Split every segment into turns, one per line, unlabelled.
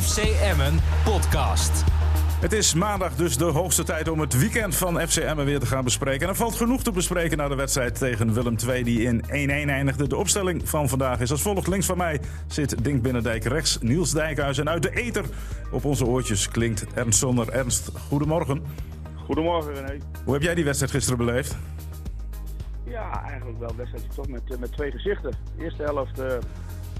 FC Emmen podcast.
Het is maandag dus de hoogste tijd om het weekend van FC Emmen weer te gaan bespreken. En er valt genoeg te bespreken na de wedstrijd tegen Willem II die in 1-1 eindigde. De opstelling van vandaag is als volgt. Links van mij zit Dink Binnendijk, rechts Niels Dijkhuis. En uit de ether op onze oortjes klinkt Ernst Zonder. Ernst, goedemorgen.
Goedemorgen René.
Hoe heb jij die wedstrijd gisteren beleefd?
Ja, eigenlijk wel een wedstrijdje toch met, eh, met twee gezichten. De eerste helft eh,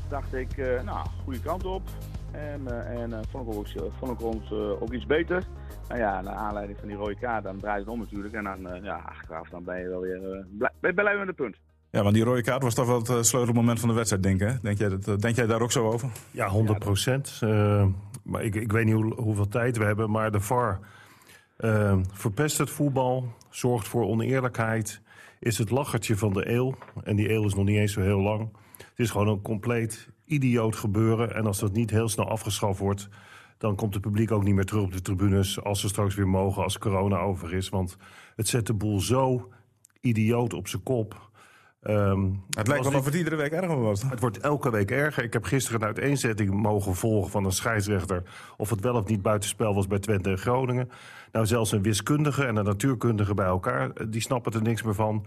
dacht ik, eh, nou, goede kant op. En, eh, en eh, vond, ik ook, iets- vond ik ons eh, ook iets beter. Nou ja, naar aanleiding van die rode kaart, dan draait het om natuurlijk. En dan, eh, ja, achteraf dan ben je wel weer eh, blij, ben je blij met het punt.
Ja, want die rode kaart was toch wel het eh, sleutelmoment van de wedstrijd, denk ik. hè? Denk jij, dat, eh, denk jij daar ook zo over?
Ja, 100 procent. Eh, maar ik, ik weet niet hoe, hoeveel tijd we hebben, maar de VAR eh, verpest het voetbal, zorgt voor oneerlijkheid, is het lachertje van de eeuw. En die eeuw is nog niet eens zo heel lang. Het is gewoon een compleet idioot gebeuren. En als dat niet heel snel afgeschaft wordt, dan komt het publiek ook niet meer terug op de tribunes als ze straks weer mogen, als corona over is. Want het zet de boel zo idioot op zijn kop. Ehm,
Het
als
lijkt wel
dit-
of het iedere week erger wordt.
het wordt elke week erger. Ik heb gisteren een uiteenzetting mogen volgen van een scheidsrechter. Of het wel of niet buitenspel was bij Twente en Groningen. Nou, zelfs een wiskundige en een natuurkundige bij elkaar, eh, die snappen er niks meer van.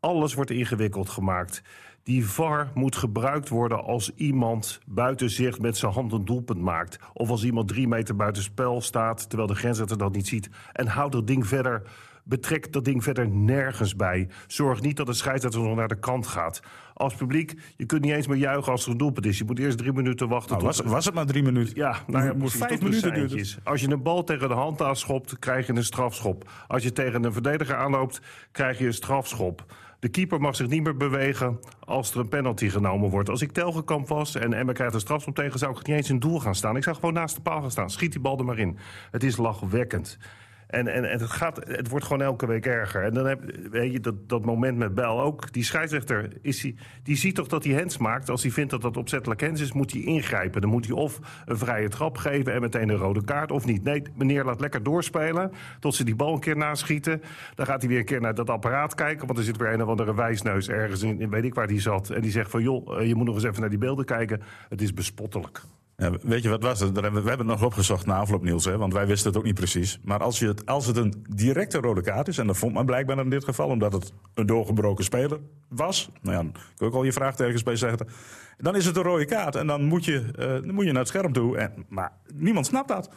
Alles wordt ingewikkeld gemaakt. Die VAR moet gebruikt worden als iemand buiten zicht met zijn hand een doelpunt maakt. Of als iemand drie meter buitenspel staat, terwijl de grensrechter dat niet ziet. En houdt dat ding verder Betrek dat ding verder nergens bij. Zorg niet dat de scheidsrechter nog naar de kant gaat. Als publiek, je kunt niet eens meer juichen als er een doelpunt is. Je moet eerst drie minuten wachten.
Nou,
tot-
was, was het maar drie minuten?
ja, nou ja,
Moet
precies,
vijf
tot de
minuten duurde.
seintjes. Als je een bal tegen de hand aanschopt, krijg je een strafschop. Als je tegen een verdediger aanloopt, krijg je een strafschop. De keeper mag zich niet meer bewegen als er een penalty genomen wordt. Als ik Telgekamp was en Emma krijgt een strafschop tegen... zou ik niet eens in het doel gaan staan. Ik zou gewoon naast de paal gaan staan. Schiet die bal er maar in. Het is lachwekkend. En, en, en het, gaat, het wordt gewoon elke week erger. En dan heb weet je dat, dat moment met Bel ook. Die scheidsrechter, is die, die ziet toch dat hij hands maakt. Als hij vindt dat dat opzettelijk hands is, moet hij ingrijpen. Dan moet hij of een vrije trap geven en meteen een rode kaart of niet. Nee, meneer laat lekker doorspelen tot ze die bal een keer naschieten. Dan gaat hij weer een keer naar dat apparaat kijken. Want er zit weer een of andere wijsneus ergens in, in weet ik waar die zat. En die zegt van joh, eh, je moet nog eens even naar die beelden kijken. Het is bespottelijk.
Ja, weet je wat was het? Daar hebben We we hebben het nog opgezocht na afloop, Niels. Hè? Want wij wisten het ook niet precies. Maar als, je het, als het een directe rode kaart is... en dat vond men blijkbaar in dit geval... omdat het een doorgebroken speler was... nou ja, dan kun je ook al je vraagtekens bij zeggen... dan is het een rode kaart en dan moet je, eh, dan moet je naar het scherm toe. En, maar niemand snapt dat.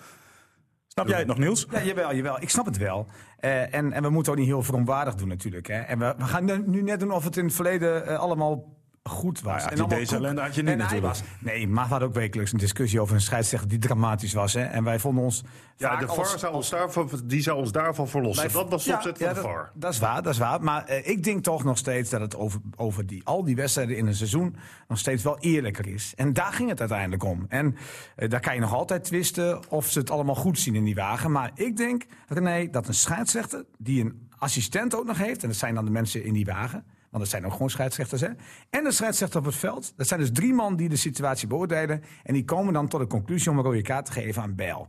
Snap jij het nog, Niels?
Ja, jawel, jawel. Ik snap het wel. Eh, en, en we moeten ook niet heel verontwaardigd doen natuurlijk. Hè. En we, we gaan nu- nu net doen of het in het verleden eh, allemaal goed was.
Nou ja, die
en allemaal
deze
koek
ellende had je niet
en ei
natuurlijk.
Was. Nee, maar we hadden ook wekelijks een discussie over een scheidsrechter die dramatisch was. Hè. En wij vonden ons
Ja,
vaak
de
als-
VAR zou ons daarvan, die zou ons daarvan verlossen.
wij-
Dat was de
Ja,
opzet
ja,
van de
dat-
VAR.
Dat is waar, dat is waar. Maar eh, ik denk toch nog steeds dat het over, over die, al die wedstrijden in een seizoen nog steeds wel eerlijker is. En daar ging het uiteindelijk om. En eh, daar kan je nog altijd twisten of ze het allemaal goed zien in die wagen. Maar ik denk, René, dat een scheidsrechter die een assistent ook nog heeft, en dat zijn dan de mensen in die wagen. Want dat zijn ook gewoon scheidsrechters. Hè? En een scheidsrechter op het veld. Dat zijn dus drie man die de situatie beoordelen. En die komen dan tot de conclusie om een rode kaart te geven aan Bijl.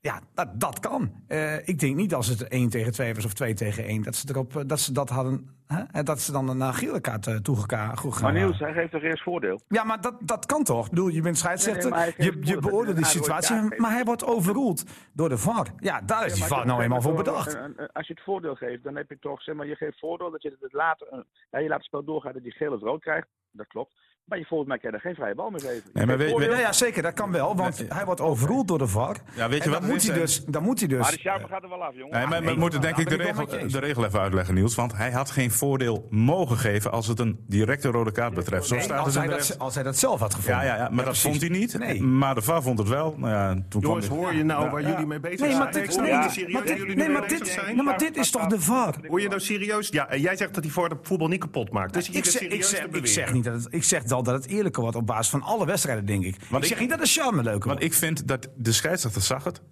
Ja, dat, dat kan. Eh, ik denk niet als het 1 tegen 2 was of 2 tegen 1, dat ze, erop, eh, dat, ze dat hadden. Hè? En Dat ze dan een uh, gele kaart eh, toegeka-
Maar
toegegaan
Niels,
waren.
hij geeft toch eerst voordeel?
Ja, maar dat, dat kan toch? Ik bedoel, je bent scheidsrechter,
Nee, nee, maar hij
je,
geeft
je
voor-
beoordeelt die
hij wordt
situatie,
daar-
maar hij wordt overroeld door de VAR. Ja, daar is die
Maar
VAR nou
dat-
eenmaal voor
dat-
bedacht.
eh, een- een- als je het voordeel geeft, dan heb je toch, zeg maar, je geeft voordeel dat je het later, eh, ja, je laat het spel doorgaan dat die geel of rood krijgt. Dat klopt. Maar je volgens mij kan je daar geen vrije bal meer geven. Je
maar
geeft
weet-
voordeel.
Ja, ja, zeker, dat kan wel, want hij wordt overroeld door de VAR.
Ja, weet je
en
wat
dan
het
moet,
is,
hij
hè?
dus, dan moet hij dus.
Maar de charme gaat er wel af, jongen.
eh, Nee, maar
nee,
we moeten
nou,
denk ik de
daar ben ik wel met je
regel,
eens.
de regel even uitleggen, Niels. Want hij had geen voordeel mogen geven als het een directe rode kaart betreft. Zo
Nee,
staat
als,
het in
hij
de
dat,
regel.
als hij dat zelf had gevonden.
Ja, ja, ja, maar dat
precies.
vond hij niet.
Nee.
Maar de VAR vond het wel. Nou ja, toen kwam
Jongens,
dit.
hoor je nou waar jullie mee bezig zijn?
Nee, maar dit,
Hoor
nee,
je nou
maar
serieus
dit-
waar jullie
nee,
mee
maar
bezig
dit,
zijn?
nee, maar dit is toch de VAR?
Hoor je nou serieus? Ja, en jij zegt dat die voor de voetbal niet kapot maakt. Dus
Ik zeg, ik, zeg, ik, zeg niet dat het, ik zeg al dat het eerlijker wordt op basis van alle wedstrijden, denk ik.
Want
ik zeg
ik-
niet dat de charme leuker
Want
wordt.
ik vind dat de scheidsrechter zag het.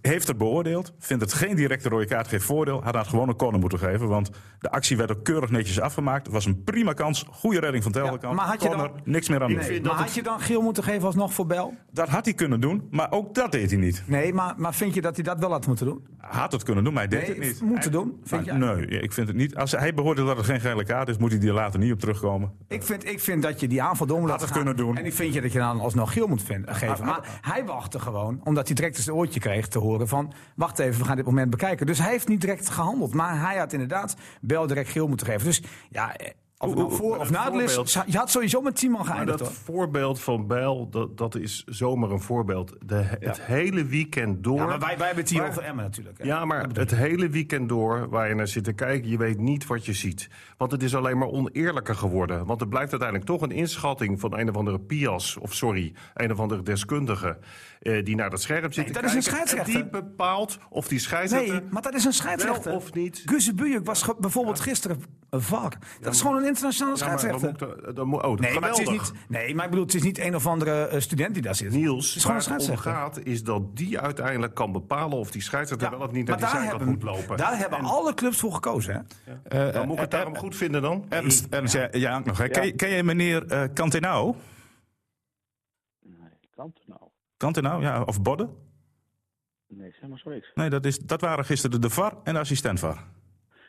heeft het beoordeeld, vindt het geen directe rode kaart, geen voordeel. Had dat gewoon een corner moeten geven, want de actie werd ook keurig netjes afgemaakt. Het was een prima kans, goede redding van Telkamp.
Ja, maar had je
corner,
dan-
niks meer aan doen.
vind
Nee,
dat
maar had
het-
je dan geel moeten geven alsnog voor Bel?
Dat had hij kunnen doen, maar ook dat deed hij niet.
Nee, maar, maar vind je dat hij dat wel had moeten doen?
Had het kunnen doen, maar hij deed
Nee,
het niet.
moeten doen, vind
Maar
je?
nee, ik vind het niet. Als hij behoorde dat het geen gele kaart is, moet hij er later niet op terugkomen.
Ik vind, ik vind dat je die aanval door moet
Had
laten
het
gaan.
kunnen doen.
En ik vind je dat je dan alsnog geel moet vinden, geven.
maar-
Maar hij wachtte gewoon, omdat hij direct eens het oortje kreeg te horen van... wacht even, we gaan dit moment bekijken. Dus hij heeft niet direct gehandeld. Maar hij had inderdaad Bel direct geel moeten geven. Dus ja, eh, of het nou voor of
het
na het
voorbeeld-
is... Je had sowieso met 10 man
Maar
geëindigd,
dat
hoor.
voorbeeld van Bijl, dat, dat is zomaar een voorbeeld. De, het hele weekend door.
Ja, maar wij, wij hebben het hier
Maar-
over Emmen natuurlijk. hè.
Ja, maar het hele weekend door waar je naar zit te kijken, je weet niet wat je ziet. Want het is alleen maar oneerlijker geworden. Want het blijft uiteindelijk toch een inschatting van een of andere Pias, of sorry, een of andere deskundige, eh, die naar dat scherm zit.
Nee,
te
dat is een
kijken. En
scheidsrechter.
Die bepaalt of die scheidsrechter.
Nee, maar dat is een scheidsrechter.
Wel of niet?
Guus Bujuk was ge- bijvoorbeeld gisteren een VAR. Dat is gewoon een internationale
Ja, maar dan
scheidsrechter.
moet ik er- dan moet- oh, dat
Nee maar, het is
geweldig.
niet, nee, maar ik bedoel, het is niet een of andere eh, student die daar zit.
Niels,
het is gewoon een
waar het om
scheidsrechter.
gaat is dat die uiteindelijk kan bepalen of die scheidsrechter
Ja,
wel of niet naar
maar
die
daar
zijkant
hebben,
moet lopen.
daar hebben eh, alle clubs voor gekozen. Hè?
dan moet ik het daarom goed vinden dan.
Ernst, Ernst jij, jij hangt nog. Hè? Ken,
Ja.
je- ken je meneer eh Cantenau?
Nee, kan het nou?
Cantenau, ja, of Bodde?
Nee, zeg maar zo niks.
Nee, dat, is, dat waren gisteren de VAR en de assistent VAR.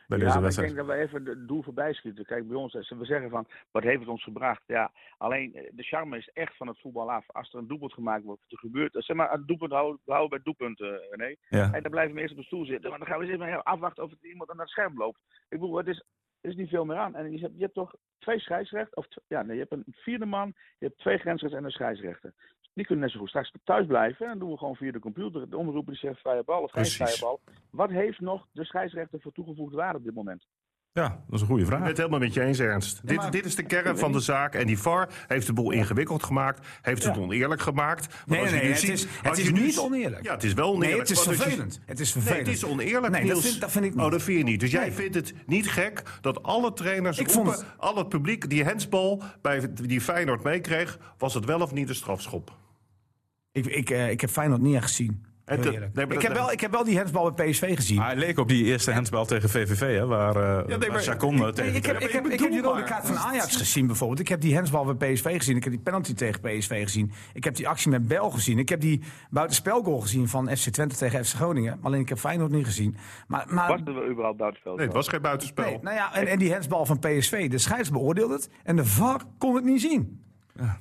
Bij
ja,
deze
maar ik
wedstrijd.
denk dat we even het doel voorbij schieten. Kijk, bij ons, eh, we zeggen van, wat heeft het ons gebracht? Ja, alleen eh, de charme is echt van het voetbal af. Als er een doelpunt gemaakt wordt, wat er gebeurt. eh, Zeg maar, het doelpunt houden, we houden bij het doelpunt, eh René.
Ja.
En dan blijven we eerst op de stoel zitten. Maar dan gaan we eens even afwachten of het iemand aan het scherm loopt. Ik bedoel, het is, er is niet veel meer aan. En je hebt, je hebt toch twee scheidsrechten. Of tw- ja, nee, je hebt een vierde man, je hebt twee grensrechters en een scheidsrechter. Dus Die kunnen net zo goed straks thuis blijven. En dan doen we gewoon via de computer. De omroeper die zegt vrije bal of geen
Precies.
vrije bal. Wat heeft nog de scheidsrechter voor toegevoegde waarde op dit moment?
ja, dat is een goede
Ik
vraag.
ben het helemaal met je eens, Ernst.
maar-
dit, dit is de kern van de zaak. En die VAR heeft de boel ingewikkeld gemaakt. Heeft het
Ja.
oneerlijk gemaakt. Want
Nee,
als je
nee,
nu
het
ziet-
is-
als
het
je
is
nu
niet
z-
oneerlijk.
Ja, het is wel oneerlijk.
Nee, het is
want als je-
vervelend. Het is
Nee,
vervelend.
het is oneerlijk,
Nee, dat
Niels.
vind, dat vind ik niet.
Oh, dat vind je niet. Dus jij
Nee.
vindt het niet gek dat alle trainers,
Ik vond
roepen, al het publiek, die handsbal bij, die Feyenoord meekreeg, was het wel of niet een strafschop?
ik, ik, eh, ik heb Feyenoord niet echt gezien.
En
Heel
te-
eerlijk.
nee, maar
ik,
dat- Ah,
heb wel, ik heb wel die handsbal bij PSV gezien.
Maar hij leek op die eerste handsbal tegen VVV, hè, waar, eh waar
maar-
Chacon eh, tegen
ik, heb, ik, heb, ik heb die rode kaart van Ajax gezien bijvoorbeeld. Ik heb die hensbal bij PSV gezien. Ik heb die penalty tegen PSV gezien. Ik heb die actie met Bel gezien. Ik heb die buitenspelgoal gezien van FC Twente tegen FC Groningen. Alleen ik heb Feyenoord niet gezien. Maar, maar
Was er überhaupt buitenspel?
Nee, het was geen buitenspel.
nee, nou ja, en, en die hensbal van PSV. De scheids beoordeelde het en de VAR kon het niet zien.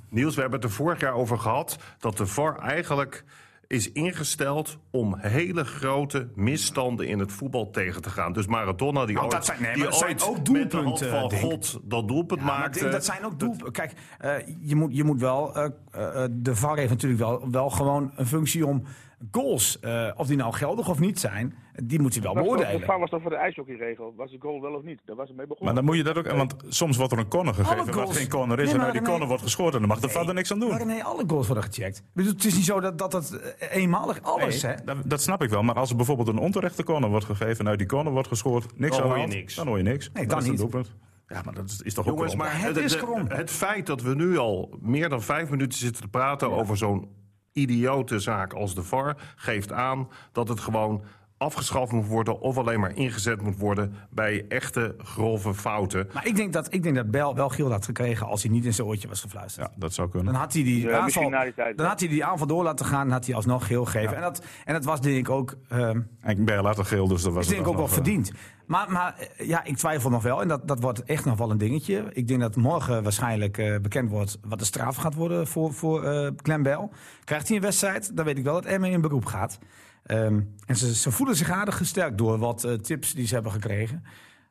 Niels, we hebben het er vorig jaar over gehad dat de VAR eigenlijk is ingesteld om hele grote misstanden in het voetbal tegen te gaan. Dus Maradona die
Nou,
ooit,
dat zijn- nee, maar
die
dat zijn
ooit
ook
met de hand
doelpunten,
van
Dink.
God dat doelpunt
Ja, maar
maakte.
dat zijn ook doelpunten. Kijk, eh, je, moet, je moet wel. eh, eh, eh, de VAR heeft natuurlijk wel, wel gewoon een functie om goals, eh, of die nou geldig of niet zijn, die moet hij wel
De
beoordelen.
VAR was toch voor de ijshockeyregel? Was de goal wel of niet? Daar was het mee
Maar
begonnen.
dan moet je dat ook, want soms wordt er een corner gegeven wat
goals.
geen corner is.
Nee,
en
maar
uit die
René-
corner wordt gescoord en dan mag de vader niks aan doen.
Maar nee, alle goals worden gecheckt. Ik bedoel, het is niet zo dat dat, dat eh, eenmalig alles,
Nee,
hè?
dat, dat snap ik wel. Maar als er bijvoorbeeld een onterechte corner wordt gegeven en uit die corner wordt gescoord, niks
Dan
aan de
hoor je
hand,
niks.
Dan hoor je niks.
Nee,
Dat
dan
is een
niet.
doelpunt. Ja, maar dat is, is toch
Jongens,
ook wel-
maar
het is krom.
het feit dat we nu al meer dan vijf minuten zitten te praten over zo'n idiote zaak als de VAR, geeft aan dat het gewoon afgeschaft moet worden of alleen maar ingezet moet worden bij echte grove fouten.
Maar ik denk dat, ik denk dat Bel wel geel had gekregen als hij niet in zijn oortje was gefluisterd.
Ja, dat eh, zou
Dan
kunnen.
had hij die,
Ja, misschien
aanval,
na die tijd
dan had hij die aanval door laten gaan en had hij alsnog geel gegeven. En, dat, en dat was denk ik ook, ehm,
En Berg later geel, dus dat was
ik denk
het
ook
dan
wel
nog, eh,
verdiend. Maar, maar eh, ja, ik twijfel nog wel en dat, dat wordt echt nog wel een dingetje. Ik denk dat morgen waarschijnlijk eh, bekend wordt wat de straf gaat worden voor, voor eh Glenn Bell. Krijgt hij een wedstrijd, dan weet ik wel dat Emmen in beroep gaat. Ehm, en ze, ze voelen zich aardig gesterkt door wat eh, tips die ze hebben gekregen.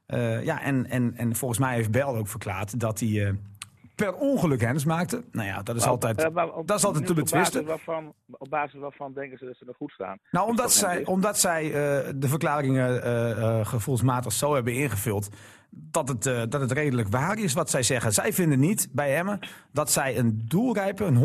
Eh, ja, en, en, en volgens mij heeft Bell ook verklaard dat hij eh, per ongeluk hens maakte. Nou ja, dat is altijd,
Eh, maar op-
dat is altijd te
op basis
betwisten.
waarvan- Op basis waarvan denken ze dat ze er goed staan?
Nou,
Dat
omdat
is toch
zij,
niet-
omdat zij eh, de verklaringen eh, eh, gevoelsmatig zo hebben ingevuld. Dat het, eh, dat het redelijk waar is wat zij zeggen. Zij vinden niet bij Emmen dat zij een doelrijpe, een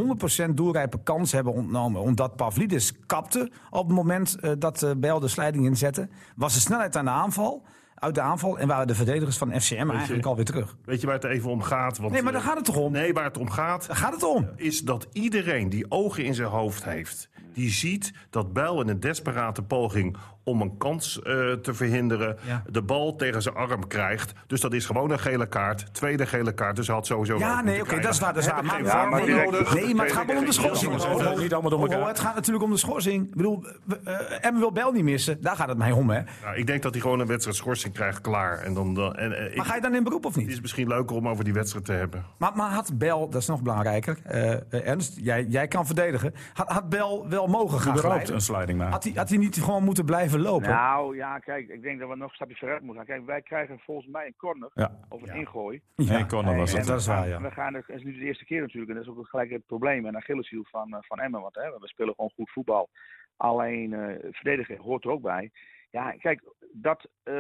100% doelrijpe kans hebben ontnomen. Omdat Pavlidis kapte op het moment eh, dat eh Bijl de slijding inzette. Was de snelheid aan de aanval, uit de aanval en waren de verdedigers van FCM eigenlijk alweer terug.
Weet je waar het even om gaat? Want,
Nee, maar daar
eh,
gaat het toch om?
Nee, waar het om gaat
Daar gaat het om.
is dat iedereen die ogen in zijn hoofd heeft Die ziet dat Bijl in een desperate poging om een kans eh, te verhinderen...
Ja.
de bal tegen zijn arm krijgt. Dus dat is gewoon een gele kaart. Tweede gele kaart, dus hij had sowieso rood
Ja,
moeten
nee, oké,
krijgen.
dat is waar. Dat is waar.
Hebben
Maar,
geen
ja,
VAR
maar
meer
direct-
nodig.
nee, maar het gaat wel om de schorsing.
Jongens, even niet allemaal door
Oh, oh,
elkaar.
het gaat natuurlijk om de schorsing. Ik bedoel, eh Emmen wil Bel niet missen. Daar gaat het mij om, hè.
Ja, Nou, ik denk dat hij gewoon een wedstrijd schorsing krijgt, klaar. En dan, dan, en, eh,
Maar
ik-
ga je dan in beroep of niet?
het is misschien leuker om over die wedstrijd te hebben.
Maar, maar had Bel, dat is nog belangrijker, eh, eh, Ernst, jij, jij kan verdedigen. Had, had Bel wel mogen gaan
überhaupt
glijden?
een sliding maken.
Had hij, had hij niet gewoon moeten blijven lopen?
Nou ja, kijk, ik denk dat we nog een stapje vooruit moeten gaan. Kijk, wij krijgen volgens mij een corner
Ja,
of een ingooi.
Ja.
één corner was
En
het.
dat is
we gaan-
waar, ja.
We gaan, er- het is nu de eerste keer natuurlijk. En dat is ook gelijk het probleem en Achilleshiel van, eh, van Emmen. Want hè, we spelen gewoon goed voetbal. Alleen eh verdedigen hoort er ook bij. Ja, kijk, dat eh,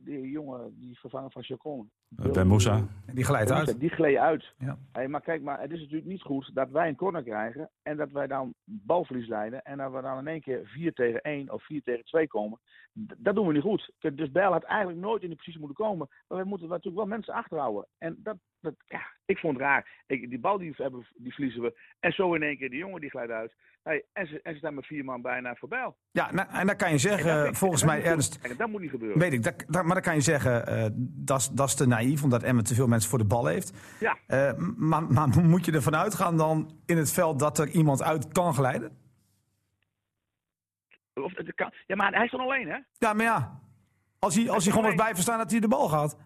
die jongen, die vervanger van Chacon.
Eh, Ben Moussa.
Die glijdt uit.
Die gleed uit.
Ja.
Hey, maar kijk, maar het is natuurlijk niet goed dat wij een corner krijgen en dat wij dan balverlies leiden en dat we dan in één keer 4 tegen 1 of 4 tegen 2 komen. D- dat doen we niet goed. Kijk, Dus Bijl had eigenlijk nooit in die positie moeten komen, maar we moeten natuurlijk wel mensen achterhouden. En dat, dat ja, ik vond het raar. Ik, die bal die, we hebben, die verliezen we en zo in één keer die jongen die glijdt uit. Hey, en, ze, en ze staan met vier man bijna voor Bijl.
Ja, nou, en dan kan je
En dat
zeggen,
vind ik-
volgens
dat
mij,
moet niet
Ernst,
goed. En dat moet niet gebeuren.
weet ik, dat, dat- maar dan kan je zeggen, eh, dat is- dat is te naïef, omdat Emmen te veel mensen voor de bal heeft.
Ja.
Eh, maar, maar moet je ervan uitgaan dan in het veld dat er iemand uit kan glijden?
Of, het kan, ja, maar hij stond alleen, hè?
Ja, maar ja. Als hij, als hij gewoon was blijven staan dat hij de bal gaat.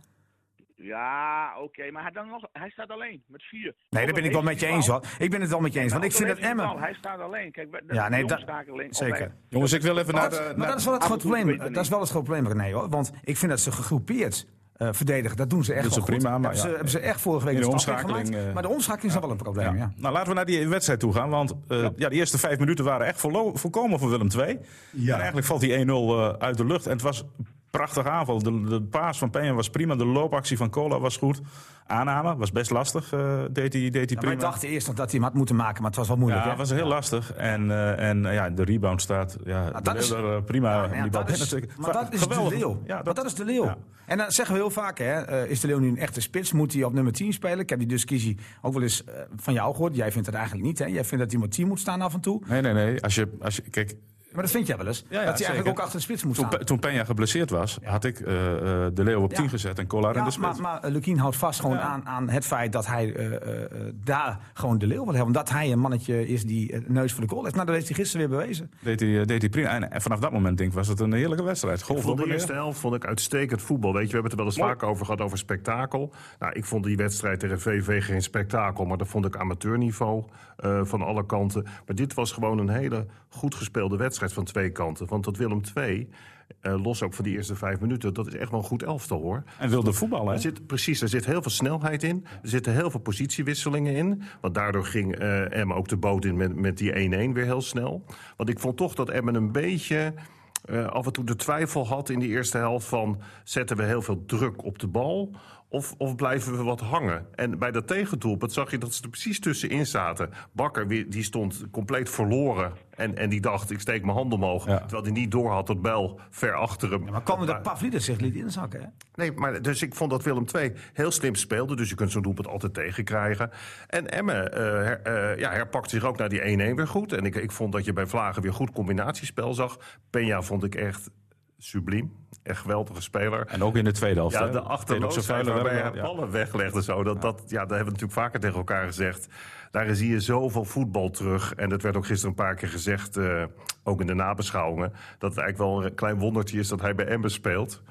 Ja, oké, maar hij, dan nog, hij staat alleen met vier.
Nee, daar ben ik wel met je eens hoor. Ik ben het wel met je eens. Want ik vind dat Emmen.
Hij staat alleen. Kijk, wij-
Ja,
de
nee,
jongens
dat-
staken alleen.
Zeker.
Jongens, ik wil even naar de...
Dat- maar
naar-
dat is wel het
af en
groot
toe
probleem.
weet je
Dat is wel het groot probleem, René hoor. Want ik vind dat ze gegroepeerd eh, verdedigen. Dat doen ze echt
Doen ze
wel goed.
prima, maar
hebben, ze,
ja.
hebben ze echt vorige week
In de
een stap eh, in
omschakeling,
gemaakt.
eh,
Maar de omschakeling is dan wel een probleem. Ja.
Nou, laten we naar die wedstrijd toe gaan. Want eh, ja. de eerste vijf minuten waren echt vollo- volkomen voor Willem II. Ja. eigenlijk valt die 1-0 eh, uit de lucht. En het was een prachtige aanval. De, de paas van Peña was prima. De loopactie van Cola was goed. Aanname was best lastig. eh, deed hij, deed hij
Maar
prima.
ik dacht eerst nog dat hij hem had moeten maken, maar het was wel moeilijk.
ja,
hè?
het was heel lastig. En, eh, en eh, ja, de rebound staat. Ja,
Ah, dat
de
is-
Leeuwer, eh, prima.
Ja, maar ja,
die bal
dat is,
binnen.
maar dat is
Geweldig.
de leeuw.
Ja,
maar
dat,
dat is de leeuw.
ja.
En dan zeggen we heel vaak, hè, eh, is de leeuw nu een echte spits? Moet hij op nummer 10 spelen? Ik heb die discussie ook wel eens eh, van jou gehoord. Jij vindt het eigenlijk niet, hè? Jij vindt dat hij op 10 moet staan af en toe.
Nee, nee, nee. Als je, als je, kijk,
Maar dat vind jij wel eens. dat hij eigenlijk
zeker.
ook achter de spits moet
toen,
staan.
Pe- toen Peña geblesseerd was, had ik eh, eh, de leeuw op
Ja.
10 gezet en Cola in
Ja,
de spits.
maar, maar eh, Lukien houdt vast gewoon aan, aan het feit dat hij eh, eh, eh, daar gewoon de leeuw wil hebben. Omdat hij een mannetje is die eh, neus voor de goal heeft. Nou, dat heeft hij gisteren weer bewezen.
Deed hij, eh, deed hij prima. En, en vanaf dat moment denk ik, was het een heerlijke wedstrijd. Golf
Voor
op
de
en neer.
eerste helft vond ik uitstekend voetbal. Weet je, we hebben het er wel eens vaak over gehad, over spektakel. Nou, ik vond die wedstrijd tegen VV geen spektakel, maar dat vond ik amateurniveau eh, van alle kanten. Maar dit was gewoon een hele goed gespeelde wedstrijd van twee kanten. Want dat Willem II, eh, los ook van die eerste vijf minuten, dat is echt wel een goed elftal hoor.
En wilde voetballen.
Er
hè?
zit, precies, er zit heel veel snelheid in. Er zitten heel veel positiewisselingen in. Want daardoor ging eh Emmen ook de boot in met, met die 1-1 weer heel snel. Want ik vond toch dat Emmen een beetje eh, af en toe de twijfel had in de eerste helft van... zetten we heel veel druk op de bal of, of blijven we wat hangen? En bij dat tegendoelpunt zag je dat ze er precies tussenin zaten. Bakker wie- die stond compleet verloren en, en die dacht ik steek mijn hand omhoog.
Ja.
Terwijl hij niet door had dat Bel ver achter hem.
Maar kwam er dat Pavlidis zich liet inzakken, hè?
Nee, maar dus ik vond dat Willem II heel slim speelde. Dus je kunt zo'n doelpunt altijd tegenkrijgen. En Emmen eh, her- eh, ja, herpakt zich ook naar die 1-1 weer goed. En ik, ik vond dat je bij Vlagen weer goed combinatiespel zag. Peña vond ik echt subliem. Echt geweldige speler.
En ook in de tweede helft.
Ja,
hè?
de achterloosheid
Deed ook
waarbij
zoveel
hij
werk, ja.
ballen weglegt en zo. Dat, dat, ja, dat hebben we natuurlijk vaker tegen elkaar gezegd. Daarin zie je zoveel voetbal terug. En dat werd ook gisteren een paar keer gezegd, eh, ook in de nabeschouwingen... dat het eigenlijk wel een klein wondertje is dat hij bij Ember speelt.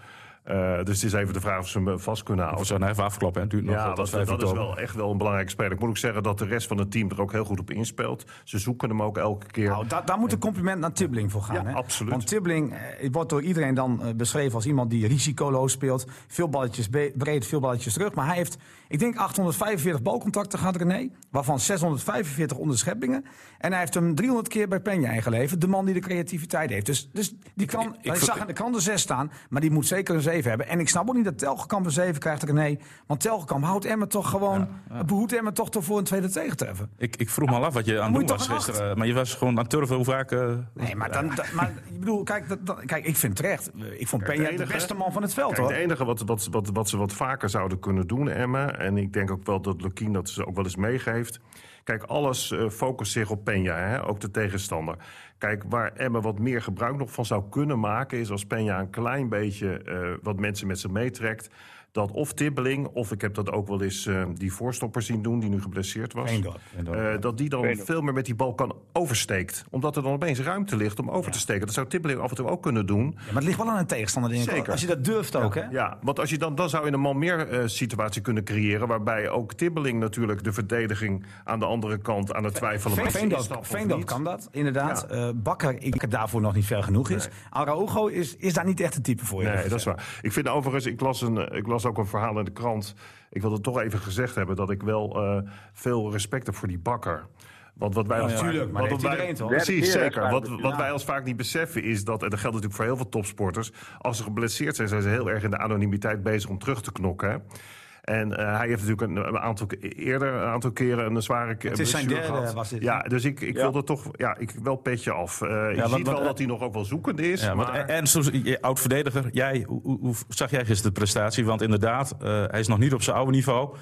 Eh, dus het is even de vraag of ze hem vast kunnen houden.
Of zou hij even afkloppen? hè? Het duurt nog
Ja,
tot
dat,
5
dat is
oktober.
wel echt wel een belangrijk speler. Ik moet ook zeggen dat de rest van het team er ook heel goed op inspeelt. Ze zoeken hem ook elke keer.
Nou, da- daar moet een compliment naar Tibbling voor gaan.
Ja,
hè?
absoluut.
Want Tibbling eh, wordt door iedereen dan eh, beschreven als iemand die risicoloos speelt. Veel balletjes be- breed, veel balletjes terug. Maar hij heeft, ik denk, 845 balcontacten gehad, René. Waarvan 645 onderscheppingen. En hij heeft hem 300 keer bij Penja ingeleverd. De man die de creativiteit heeft. Dus, dus die kan, ik,
vind-
zag aan de krant een 6 staan. Maar die moet zeker een 7 hebben. En ik snap ook niet dat Telgekamp een 7 krijgt, René. Want Telgekamp houdt Emmen toch gewoon, behoedt Emmen toch toch voor een tweede tegentreffer.
Ik, ik vroeg me al af wat je aan het
moet
doen
je
was
toch een
gisteren. eh, Maar je was gewoon aan het turven hoe vaak... eh,
Nee, maar, dan, da- maar ik bedoel, kijk, dat, dat- kijk, ik vind terecht. Ik vond Peña de
enige-
beste man van het veld,
Kijk,
hoor.
het enige wat, wat, wat, wat ze wat vaker zouden kunnen doen, Emma. En ik denk ook wel dat Lukien dat ze ook wel eens meegeeft. Kijk, alles eh, focust zich op Peña, hè? ook de tegenstander. Kijk, waar Emmen wat meer gebruik nog van zou kunnen maken... is als Peña een klein beetje eh, wat mensen met zich meetrekt... dat of Tibbeling, of ik heb dat ook wel eens eh, die voorstopper zien doen... die nu geblesseerd was.
Veendorp.
Eh, dat die dan
Veendorp.
veel meer met die bal kan oversteekt. Omdat er dan opeens ruimte ligt om over te steken. Dat zou Tibbeling af en toe ook kunnen doen.
Ja, maar het ligt wel aan een tegenstander, denk ik.
Zeker.
Als je dat durft ook, hè?
Ja, want als je dan, dan zou je een man meer eh, situatie kunnen creëren... waarbij ook Tibbeling natuurlijk de verdediging aan de andere kant aan het twijfelen
Ve-
maakt.
Veendorp,
Instappen of
Veendorp
niet.
kan dat, inderdaad.
Ja.
Eh, Bakker, ik denk daarvoor nog niet ver genoeg is. Araujo is, is daar niet echt een type voor.
Nee, dat is waar. Ik vind overigens, ik las, een, eh, ik las ook een verhaal in de krant. Ik wil het toch even gezegd hebben dat ik wel eh, veel respect heb voor die bakker. Want wat wij als vaak-
Oh tuurlijk, maar
wat
heeft
wij-
iedereen toch?
Precies,
Werkt heel erg
zeker.
aan
Wat,
het-
wat wij als vaak niet beseffen is dat, en dat geldt natuurlijk voor heel veel topsporters, als ze geblesseerd zijn, zijn ze heel erg in de anonimiteit bezig om terug te knokken. hè. En eh, hij heeft natuurlijk een, een aantal, ke- eerder een aantal keren een zware ke-
Het is zijn
blessure
derde,
gehad.
was dit,
Ja, dus ik, ik
Ja.
wil er toch ja, ik, wel petje af. Eh je
want-
ziet wel
want-
dat hij nog ook wel zoekend is.
Ja, want
maar...
en soms, je- oud-verdediger, jij, hoe, hoe- hoe zag jij gisteren de prestatie? Want inderdaad, eh, hij is nog niet op zijn oude niveau.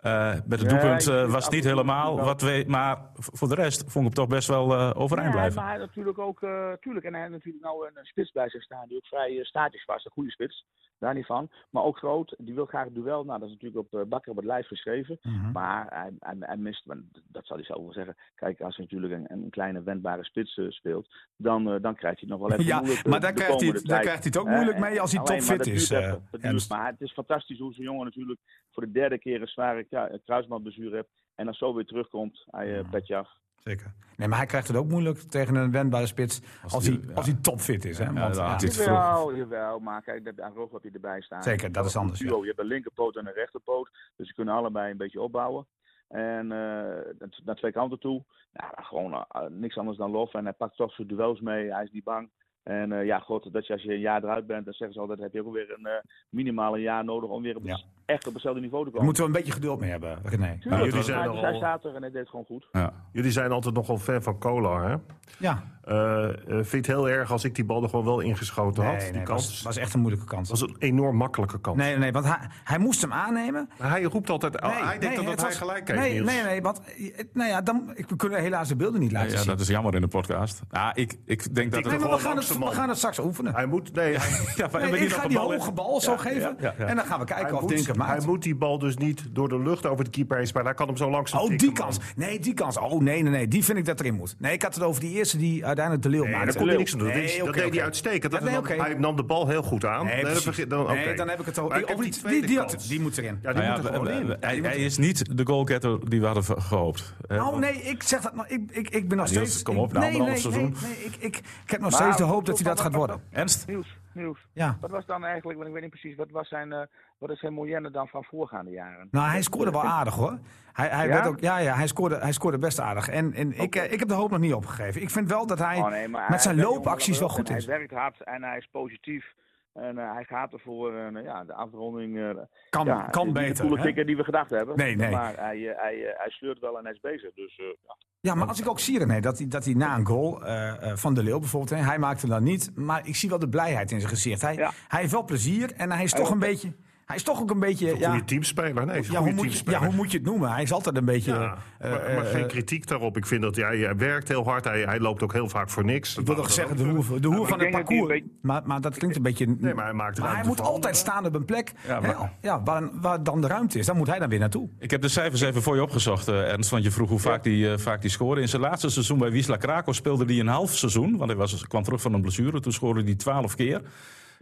Eh, met het
Nee,
doelpunt
ik
eh,
vind het
was het niet
absoluut
helemaal.
wel.
Wat we, maar v- voor de rest vond ik hem toch best wel eh, overeind
Ja,
blijven.
maar hij had natuurlijk ook, eh, tuurlijk, en hij had natuurlijk nou een, een spits bij zich staan die ook vrij eh, statisch was, een goede spits, daar niet van. Maar ook groot, die wil graag het duel, nou dat is natuurlijk op eh, Bakker op het lijf geschreven,
Mhm.
maar hij, hij, hij mist, want dat zal hij zelf wel zeggen, kijk als hij natuurlijk een, een kleine wendbare spits eh, speelt, dan, eh, dan krijgt hij het nog wel even
Ja,
moeilijk. eh,
maar daar
de
krijgt, hij,
komende
het- daar
tijd.
krijgt hij het ook moeilijk
Eh,
mee als hij
alleen, maar
topfit
dat
is.
duurt
eh,
even, dat duurt.
Ernst.
maar het is fantastisch hoe zo'n jongen natuurlijk voor de derde keer een zware kru- kruisbandblessure hebt en dan zo weer terugkomt, hij eh petje af.
Zeker. Nee, maar hij krijgt het ook moeilijk tegen een wendbare spits als,
Als die-
hij,
ja.
als hij topfit is. Hè?
Ja,
Want,
ja,
ja.
dat is-
Jawel, jawel, maar kijk, dat- aan Rogo heb je erbij staan.
Zeker, dat is anders,
Een duo, je hebt een linkerpoot en een rechterpoot, dus ze kunnen allebei een beetje opbouwen. En eh, dat- naar twee kanten toe, nou, gewoon eh, niks anders dan lof. En hij pakt toch zijn duels mee, hij is niet bang. En eh, ja, god, dat je, als je een jaar eruit bent, dan zeggen ze altijd, heb je ook weer een eh minimaal een jaar nodig om weer op,
Ja.
echt op hetzelfde niveau te
Daar
komen.
moeten we een beetje geduld mee hebben. René.
Tuurlijk,
jullie zijn
maar
er
dus hij
al-
staat er en hij deed het gewoon goed.
Ja.
Jullie zijn altijd nogal fan van Kolar, hè?
Ja,
Eh, eh, vind het heel erg als ik die bal er gewoon wel ingeschoten had.
nee,
die
nee,
kans.
was, was echt een moeilijke kans.
was een enorm makkelijke kans.
Nee, nee, want hij, hij moest hem aannemen.
Maar Hij roept altijd. oh,
Nee,
hij denkt
nee,
dat, dat
het
hij
was-
gelijk heeft.
Nee,
Niels.
nee, nee, want eh, nou ja, dan, ik, we kunnen helaas de beelden niet laten
Ja,
zien.
dat is jammer in de podcast. Ja, ik, ik denk dat
denk
Nee,
het...
maar we
Gewoon
gaan, het,
langs de
we
man.
gaan het straks oefenen.
Hij moet, nee, hij,
Ja, maar
Nee,
hebben die
ik
nog
ga
een
die
bal in?
hoge bal zo geven.
ja, ja.
En dan gaan we kijken
hij
of
moet,
Dink het maakt.
hij moet die bal dus niet door de lucht over de keeper heen spelen. Hij kan hem zo langs.
Oh, die kans. Nee, die kans. Oh, nee, nee, nee. Die vind ik dat erin moet. Nee, ik had het over die eerste die uiteindelijk de leeuw
Nee,
maakte.
daar kon hij niks aan doen.
Nee,
dat is- dat
oké,
deed
oké.
hij uitstekend. Dat
Ja, nee,
nam-
oké.
Hij nam de bal heel goed aan.
Nee,
Nee,
precies.
dan, begin- dan,
Nee,
oké.
dan heb ik het al.
Maar
Die,
heb
die,
tweede
die, die, had-
kans.
die moet erin.
Ja, die
Nou
moet er
ja,
gewoon
we- we-
in.
hij, hij is niet de goalgetter die we hadden ver- gehoopt. Eh,
Oh nee, ik zeg dat nog. Ik, ik, ik ben nog
Niels,
steeds.
kom op,
ik-
na
nee, nee,
anderhalf
nee,
seizoen.
nee, ik, ik, ik heb nog
Maar-
steeds de hoop dat hij dat gaat worden.
Ernst?
Nieuws, nieuws.
Ja.
Wat was dan eigenlijk, want ik weet niet precies, wat, was zijn, eh, wat is zijn moyenne dan van voorgaande jaren?
Nou, hij scoorde wel aardig hoor. Hij, hij,
Ja?
werd ook, ja, ja, hij, scoorde, hij scoorde best aardig. En, en ik, eh, ik heb de hoop nog niet opgegeven. Ik vind wel dat hij
Oh, nee, maar hij-
met zijn
hij- hij-
loopacties wel goed
hij
is.
werkt hard en hij is positief. En eh, hij gaat ervoor. En eh, ja, de afronding. eh,
Kan,
ja,
kan
niet De
beter.
coole
hè?
kikker die we gedacht hebben.
Nee, nee.
Maar hij, eh, hij, eh, hij sleurt wel en hij is bezig. Dus eh, ja.
Ja, maar als ik ook zie René, dat hij, dat hij na een goal eh, eh, van de Leeuw bijvoorbeeld, hè, hij maakte hem dan niet, maar ik zie wel de blijheid in zijn gezicht. Hij,
Ja.
hij heeft wel plezier en hij is toch
wil-
een beetje, hij is toch ook een beetje,
Goede
ja,
teamspeler. Nee, is een
ja, hoe
goede
moet je, ja,
teamspeler.
hoe moet je het noemen? Hij is altijd een beetje,
Ja,
eh,
maar, maar
eh,
geen kritiek daarop. Ik vind dat hij, hij werkt heel hard. Hij, hij loopt ook heel vaak voor niks.
ik wil toch zeggen, de hoer, de hoer van
Nou,
het
denk dat hij een
parcours. Maar, maar dat klinkt een beetje,
Nee, maar hij maakt
maar hij
ruimte
moet
voor
altijd
anderen.
staan op een plek
Ja,
hè,
maar-
ja, waar, waar dan de ruimte is, daar moet hij dan weer naartoe.
Ik heb de cijfers even voor je opgezocht, eh, Ernst. Want je vroeg hoe vaak die, eh, vaak die scoorde. In zijn laatste seizoen bij Wisla Krakow speelde hij een half seizoen. Want hij was, kwam terug van een blessure. Toen scoorde hij 12 keer.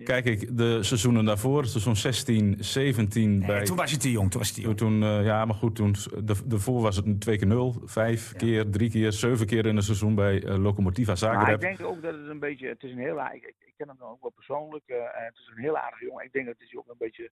Kijk ik de seizoenen daarvoor, het seizoen 16, 17. bij,
Nee, toen was je te jong, toen was je te jong.
toen, eh, ja, maar goed, toen, de- daarvoor was het een twee keer nul. Vijf keer, drie keer, zeven keer in een seizoen bij eh, Lokomotiva
Maar ik
Zagreb.
denk ook dat het een beetje. Het is een heel. aar- Ik, ik- ik ken hem dan ook wel persoonlijk. eh, en het is een heel aardige jongen. Ik denk dat hij ook een beetje.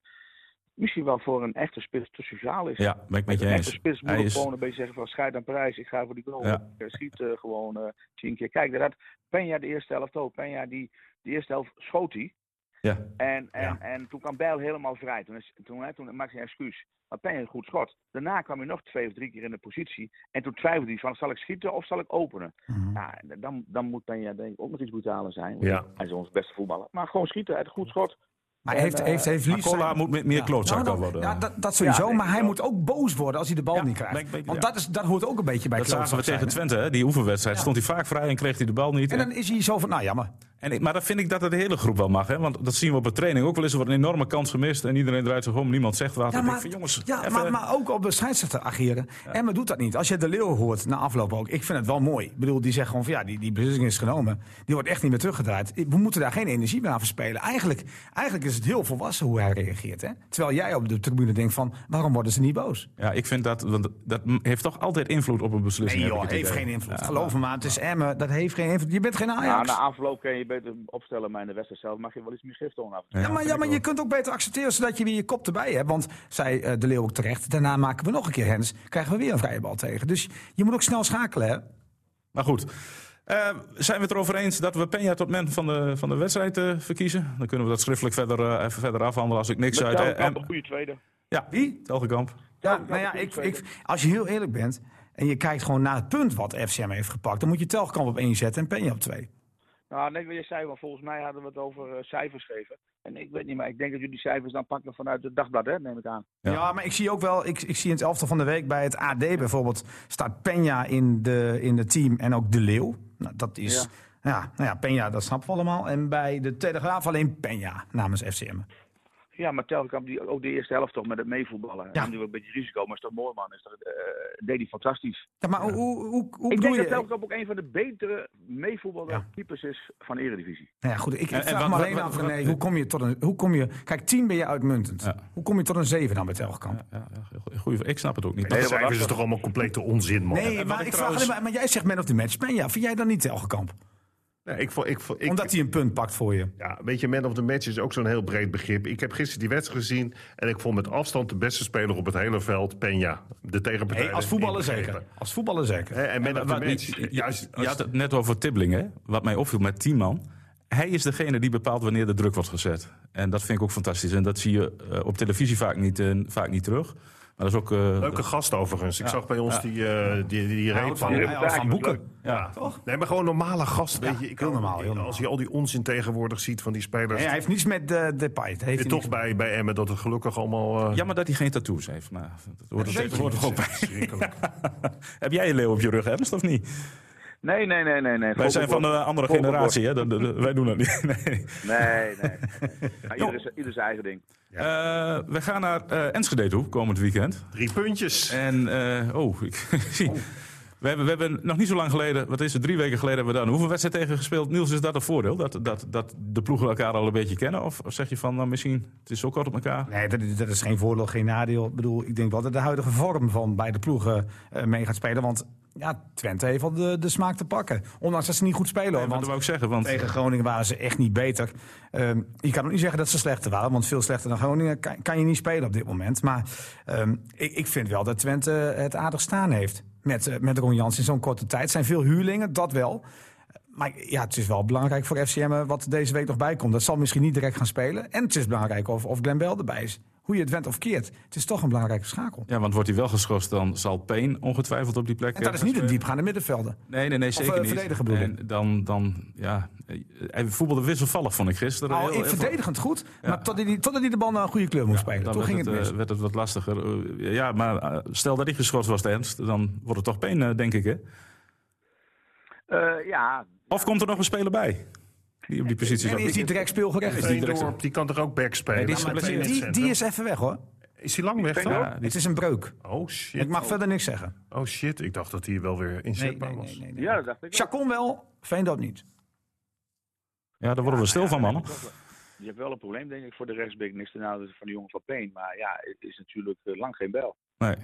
Misschien wel voor een echte spits te sociaal is.
Ja, ben ik met je
Een echte
eens.
spits moet
Hij
ook
is-
gewoon een beetje zeggen van scheid aan prijs. Ik ga voor die goal.
Ja.
Ik eh, schiet eh, gewoon eh, tien keer. Kijk, dat had Peña de eerste helft ook. Peña die de eerste helft schoot hij.
Ja.
En, en,
Ja.
en toen kwam Bijl helemaal vrij. Toen, is, toen, hè, toen maakte hij een excuus. Maar Peña een goed schot. Daarna kwam hij nog twee of drie keer in de positie. En toen twijfelde hij van zal ik schieten of zal ik openen.
Mhm.
Ja, en dan, dan moet Peña denk ik ook nog iets brutaler zijn. want
Ja.
Hij is onze beste voetballer. Maar gewoon schieten. Hij had een goed schot.
Maar
En,
heeft,
eh,
heeft, heeft
Maar
liefst...
Cola moet met meer klootzak
Nou, dat-
worden.
ja, dat, dat sowieso,
Ja,
maar hij
ik-
moet ook boos worden als hij de bal
Ja,
niet krijgt.
denk- denk-
Want
ja.
dat, is, dat hoort ook een beetje bij
dat zagen we
klootzak zijn,
tegen
hè?
Twente, hè? die oefenwedstrijd. Stond hij vaak vrij en kreeg hij de bal niet.
En dan is hij zo van, nou jammer.
En ik- maar dan vind ik dat het de hele groep wel mag. Hè? Want dat zien we op een training ook wel eens. Er wordt een enorme kans gemist. En iedereen draait zich om. Niemand zegt wat.
Ja,
Dan denk ik
maar,
van, jongens,
ja
even-
maar, maar ook op de scheidsrechter ageren. Emma doet dat niet. Als je de Leeuw hoort na afloop ook, ik vind het wel mooi. Ik bedoel, die zegt gewoon van ja, die, die beslissing is genomen. Die wordt echt niet meer teruggedraaid. We moeten daar geen energie meer aan verspelen. Eigenlijk, eigenlijk is het heel volwassen hoe hij reageert. Hè? Terwijl jij op de tribune denkt van, waarom worden ze niet boos?
Ja, ik vind dat, want dat heeft toch altijd invloed op een beslissing.
Nee
Dus heb
joh,
ik het
heeft
idee.
geen invloed. Geloof me maar, het is Emmen, dat heeft geen invloed. Je bent geen
Ja,
nou,
Ajax.
Nou, na afloop kan je beter opstellen, maar in de wedstrijd zelf mag je wel iets meer gif tonen. af en toe.
Ja, maar, ja, maar je kunt ook beter accepteren zodat je weer je kop erbij hebt. Want, zei eh, De Leeuw ook terecht, daarna maken we nog een keer hens. Krijgen we weer een vrije bal tegen. Dus je moet ook snel schakelen, hè?
Maar goed, Eh, zijn we het erover eens dat we Peña tot man van de, van de wedstrijd eh, verkiezen? Dan kunnen we dat schriftelijk verder, eh, even verder afhandelen als ik niks
Met
uit... eh,
Telkamp
em-
een goede tweede.
ja, wie? Telgekamp.
Ja,
dat
nou ja,
vind
ik,
ik
ik,
zeker.
als je heel eerlijk bent en je kijkt gewoon naar het punt wat FCM heeft gepakt, dan moet je Telkamp op 1 zetten en Penja op 2.
Nou, net wat je zei, want volgens mij hadden we het over eh, cijfers geven. En ik weet niet, maar ik denk dat jullie die cijfers dan pakken vanuit het dagblad, hè, neem ik aan.
Ja. maar ik zie ook wel, ik, ik zie in het elftal van de week bij het AD bijvoorbeeld, staat Penja in de, in het team en ook De Leeuw. Nou, dat is, ja,
Ja.
nou ja, Penja, dat snappen we allemaal. En bij de Telegraaf alleen Penja namens FCM.
Ja, maar Telkamp, die, ook de eerste helft toch met het meevoetballen.
Ja.
Ja. nu een beetje risico, maar is toch mooi, man. Is dat, eh, deed hij fantastisch.
Ja, maar hoe, hoe, hoe, hoe
ik
bedoel
denk
je?
dat Telkamp ook een van de betere meevoetballende
Ja.
types is van de Eredivisie.
Nou ja, goed, ik, ik
En- en
vraag
wat-
me
wat-
alleen
wat-
af,
wat-
René, hoe kom je tot een, hoe kom je, kijk, 10 ben je uitmuntend.
Ja.
Hoe kom je tot een 7 dan bij Telkamp?
Ja, ja, goeie, ik snap het ook niet.
Dat
wat
cijfers is
lastig.
toch allemaal complete onzin, man.
Nee,
wat
maar,
ik
ik vraag
trouwens-
alleen maar, maar jij zegt man of the match. Penja, vind jij dan niet Telgekamp?
Nee, ik, vo- ik, vo- ik,
Omdat hij een punt pakt voor je.
Ja, weet je, man of the match is ook zo'n heel breed begrip. Ik heb gisteren die wedstrijd gezien en ik vond met afstand de beste speler op het hele veld Peña. De tegenpartij.
Nee, als voetballer
inbegrepen.
zeker. Als voetballer zeker.
Hè, en man of the
Wat niet-
match.
je,
juist,
eh, je had het net over Tibbling, hè? Wat mij opviel met 10 man. Hij is degene die bepaalt wanneer de druk wordt gezet. En dat vind ik ook fantastisch. En dat zie je eh, op televisie vaak niet, eh, vaak niet terug. Maar dat is ook... eh,
Leuke gast overigens. Ik zag bij ons die, eh die, die, die reep van.
van-
Hij gaan boeken.
Ja. Nee, maar gewoon normale gast. Weet je. Ik
heel normaal, heel
Als je al die onzin tegenwoordig ziet van die spelers.
Nee, hij heeft niets met eh, de Depay. Dat heeft
je toch
hij niets-
bij, bij Emmen dat het gelukkig allemaal. eh
Jammer dat hij geen tattoos heeft. Maar dat hoort er
weet je
tegenwoordig
niet.
ook bij. Heb jij een leeuw op je rug, Ernst, of niet?
Nee, nee, nee, nee. nee.
Wij zijn van
de
een andere generatie, hè? Dat- dat- dat- wij doen dat niet. Nee.
Nee, nee. Ja, ieder, zijn- ieder zijn eigen ding.
Eh, we gaan naar eh, Enschede toe, komend weekend.
Drie puntjes.
En, eh, oh, ik zie. We hebben, we hebben nog niet zo lang geleden, wat is het, drie weken geleden hebben we daar een oefenwedstrijd tegen gespeeld. Niels, is dat een voordeel? Dat, dat, dat de ploegen elkaar al een beetje kennen? Of zeg je van, nou misschien, het is zo kort op elkaar?
Nee, dat, is- dat is geen voordeel, geen nadeel. Ik bedoel, ik denk wel dat de huidige vorm van beide ploegen eh, mee gaat spelen. Want ja, Twente heeft al de, de smaak te pakken. Ondanks dat ze niet goed spelen. hoor,
Nee, want
want
dat wou ik zeggen, want
tegen Groningen waren ze echt niet beter. Ehm, je kan ook niet zeggen dat ze slechter waren. Want veel slechter dan Groningen kan, kan je niet spelen op dit moment. Maar ehm, ik, ik vind wel dat Twente eh, het aardig staan heeft. Met, eh, met Ron Jans in zo'n korte tijd. Het zijn veel huurlingen, dat wel. Maar ja, het is wel belangrijk voor FCM wat er deze week nog bij komt. Dat zal misschien niet direct gaan spelen. En het is belangrijk of, of Glenn Bell erbij is. Hoe je het went of keert. Het is toch een belangrijke schakel.
ja, want wordt hij wel geschorst, dan zal Payne ongetwijfeld op die plek...
En dat
eh,
is niet een
spelen.
diepgaande middenvelden.
Nee, nee, nee, zeker
eh,
niet.
verdediger bedoel ik.
En dan, dan, ja, eh, hij voetbalde wisselvallig, vond ik gisteren.
Nou,
Heel- heel-
verdedigend goed. Maar totdat hij, totdat hij de bal naar een goede kleur moest spelen.
Dan
Toen
werd
ging
het,
het
eh,
mis.
werd het wat lastiger. Eh, ja, maar eh, stel dat ik geschorst was, Ernst, dan wordt het toch pijn, eh, denk ik, hè?
Eh, ja,
Of komt er nog een speler bij? Die op die positie
En
zat.
is hij direct speelgerecht?
die direct-
Veendorp, die kan toch ook back spelen?
Nee, die is
Ja, maar
geblesseerd.
Peña
Die,
centrum.
die is even weg hoor.
Is hij lang weg dan?
Ja, die-
Het is een breuk.
Oh
Ik
shit.
mag verder niks zeggen.
Oh shit, ik dacht dat hij wel weer inzetbaar was.
ja, dat dacht ik ook.
Chacon wel, Veendorp niet.
ja, daar worden we stil van, mannen.
Je hebt wel een probleem, denk ik, voor de rechtsback. Niks ten nadele van de jongen van Peen. Maar ja, het is natuurlijk eh, lang geen bel.
Nee.